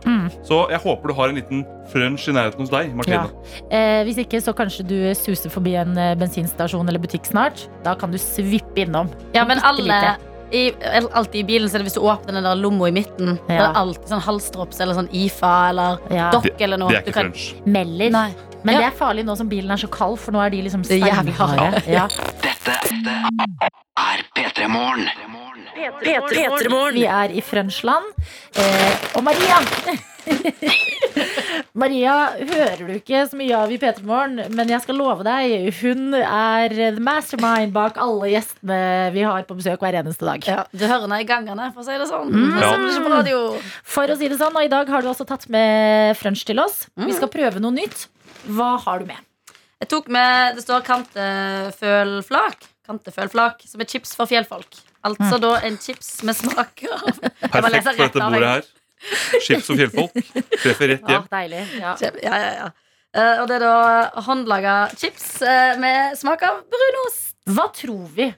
Så jeg håper du har en liten frunch i nærheten hos deg, Martine. Eh, hvis ikke, så kanskje du suser forbi en eh, bensinstasjon eller butikk snart. Da kan du svippe innom. Ja, men Bitte alle lite. i, eller alltid i bilen, så er det hvis du åpner den der lomma i midten. Det Ja. er det alltid sånn halsdrops eller sånn IFA eller Ja. dokk Det- eller noe. det er Du ikke kan- frunch. Melder. Nei. Men Ja. det er farlig nå som bilen er så kald, for nå er de liksom Det er jævlig steinharde. hardt. Ja. er P3 Morgen. Vi er i Frønsland. Eh, og Maria Maria hører du ikke så mye av i P3 Morgen, men jeg skal love deg, hun er the mastermind bak alle gjestene vi har på besøk hver eneste dag. Ja, du hører henne i gangene, for å si det sånn. Mm. Det er ikke på radio. For å si det sånn, og I dag har du også tatt med frunch til oss. Vi skal prøve noe nytt. Hva har du med? Jeg tok med, Det står kantefølflak. Kantefølflak, som er chips for fjellfolk. Mm. Altså da en chips med smak av Jeg må lese Perfekt for rett dette av bordet meg. her. Chips og fjellfolk. Treffer rett hjem. deilig. Ja. Ja, ja, ja. Eh, og det er da håndlaga chips eh, med smak av brunost. Hva tror vi?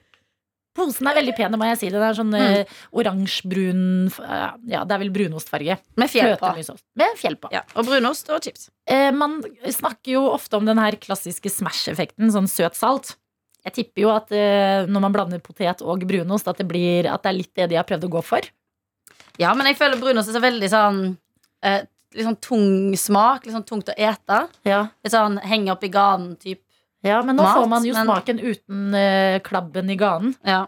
Posen er veldig pen, det må jeg si. Den er sånn eh, oransjebrun eh, Ja, det er vel brunostfarge. Med fjell på. Fløtemysost. Med fjell på. Ja, og brunost og chips. Eh, man snakker jo ofte om den her klassiske Smash-effekten, sånn søt-salt. Jeg tipper jo at eh, når man blander potet og brunost, at det, blir, at det er litt det de har prøvd å gå for. Ja, men jeg føler brunost er så veldig sånn eh, Litt sånn tung smak. Litt sånn tungt å ete. Ja, Litt sånn henge opp i ganen type. Men nå Mat, får man jo men- smaken uten eh, klabben i ganen. Ja.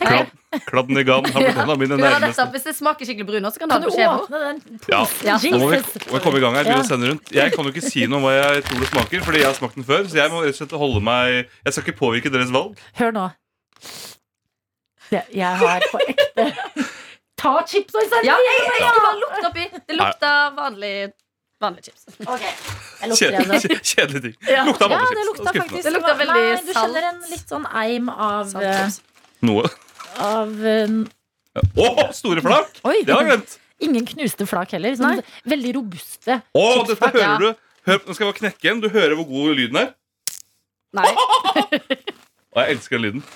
Kladd, kladden i gann har blitt en av mine Du hører dette, nærmeste. opp. Hvis det smaker skikkelig brunost, så kan du ha Kan det du på skjeva. åpne den? Ja. Ja. Nå må vi, Jesus. må vi komme i gang her. Ja. begynne å sende rundt Jeg kan jo ikke si noe om hva jeg tror det smaker, Fordi jeg har smakt den før. Så jeg må rett og slett holde meg Jeg skal ikke påvirke deres valg. Hør nå. Det, jeg har på ekte Ta chips og server! Ja, jeg, jeg, jeg, bare lukt oppi. Det lukter vanlig, vanlig chips. Jeg lukter det. Kjedelig, altså. kjedelig ting. Ja. Lukta Ja, vanlig det chips. lukta Skuffende. faktisk Det lukta veldig Nei, Du salt. kjenner en litt sånn eim av, eh, Saltchips. Noe. av eh, Å, store flak! Oi, Det har jeg glemt. Ingen knuste flak heller. Sånn, veldig robuste. Å, dette ja. hører du. Hør, nå skal jeg bare knekke en. Du hører hvor god lyden er. Nei, Og jeg elsker den lyden.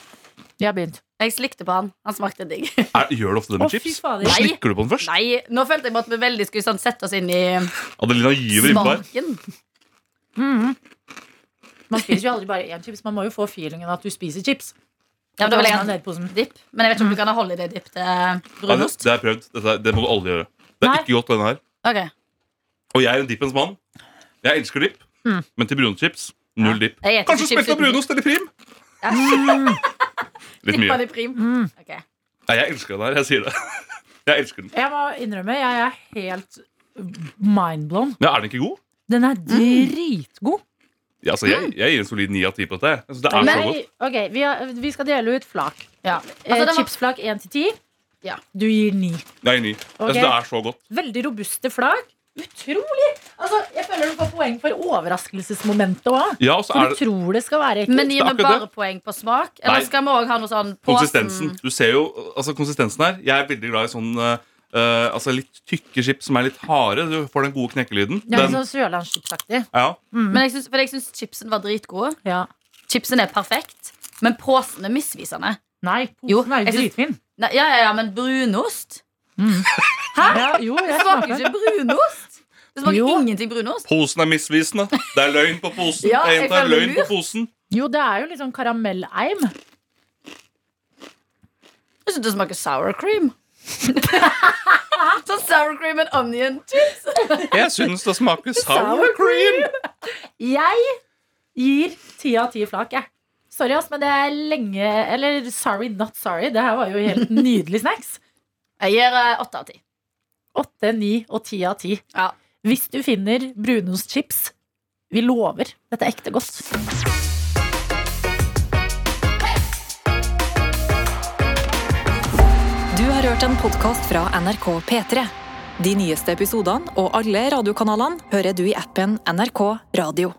Vi har begynt. jeg slikte på han. Han smakte digg. Er, gjør du ofte det Å, med fy chips? fader. Nå Nei. slikker du på den først. Nei, Nå følte jeg at vi veldig skulle sånn, sette oss inn i Adelina gyver innpå her. smaken. Man spiser jo aldri bare én chips. Man må jo få feelingen at du spiser chips. Sånn Ja, men da vil jeg ha en nedposen. dipp. Men jeg vet ikke om du kan ha holiday dipp til Nei, det, brunost. det har jeg prøvd. Dette, det må du aldri gjøre. Det er Nei. ikke godt, denne her. Ok, Og jeg er en dippens mann. Jeg elsker dipp. Mm. Men til brunostchips null dipp. Jeg spiser Kanskje chips smelt av uten dipp. brunost eller prim? Ja. Litt mye. Dippa det i prim. Ok. Nei, jeg elsker den her. Jeg sier det. Jeg elsker den. Jeg må innrømme, jeg er helt mindblown. Mm. Men er den ikke god? Den er dritgod. Ja, altså, Mm. jeg, jeg gir en solid 9 av 10 på dette. Jeg synes det er så Men, godt. ok, vi, har, vi skal dele ut flak. Eh, Altså, det var- Chipsflak 1 til 10. Du gir 9. Nei, 9. Jeg Ok. synes det er så godt. Veldig robuste flak. Utrolig! Altså, jeg føler du får poeng for overraskelsesmomentet òg. Ja, og så er for du det- tror det skal være ekkelt. Men Det er gir vi akkurat bare det. poeng på smak? Eller Nei. skal vi òg ha noe sånn på Konsistensen. Du ser jo altså, konsistensen her. Jeg er veldig glad i sånn eh, eh, altså, litt tykke chips som er litt harde. Du får den gode knekkelyden. Ja, Den, sånn Sørlandschipsaktig. ja. Men jeg syns, for jeg syns chipsen var dritgode. Ja. Chipsen er perfekt, men posen er misvisende. Nei, posen er jo dritfin. Nei, ja, ja, ja, men brunost? Hæ? jo, det smaker ikke brunost! Det smaker Jo. ingenting brunost. Posen er misvisende. Det er løgn på posen. Ja, jeg jeg gjentar føler løgn på lurt. posen. Jo, det er jo litt sånn karamelleim. Jeg syns det smaker sour cream. sånn sour cream and onion chips. Jeg syns det smaker sour Sour cream. Jeg gir ti av ti flak, jeg. Sorry, ass, men det er lenge Eller sorry, not sorry. Det her var jo helt nydelig snacks. Jeg gir eh, åtte av ti. Åtte, ni og ti av ti. Ja. Hvis du finner brunostchips, vi lover. Dette er ekte godt. Du har hørt en podkast fra NRK P3. De nyeste episodene og alle radiokanalene hører du i appen NRK Radio.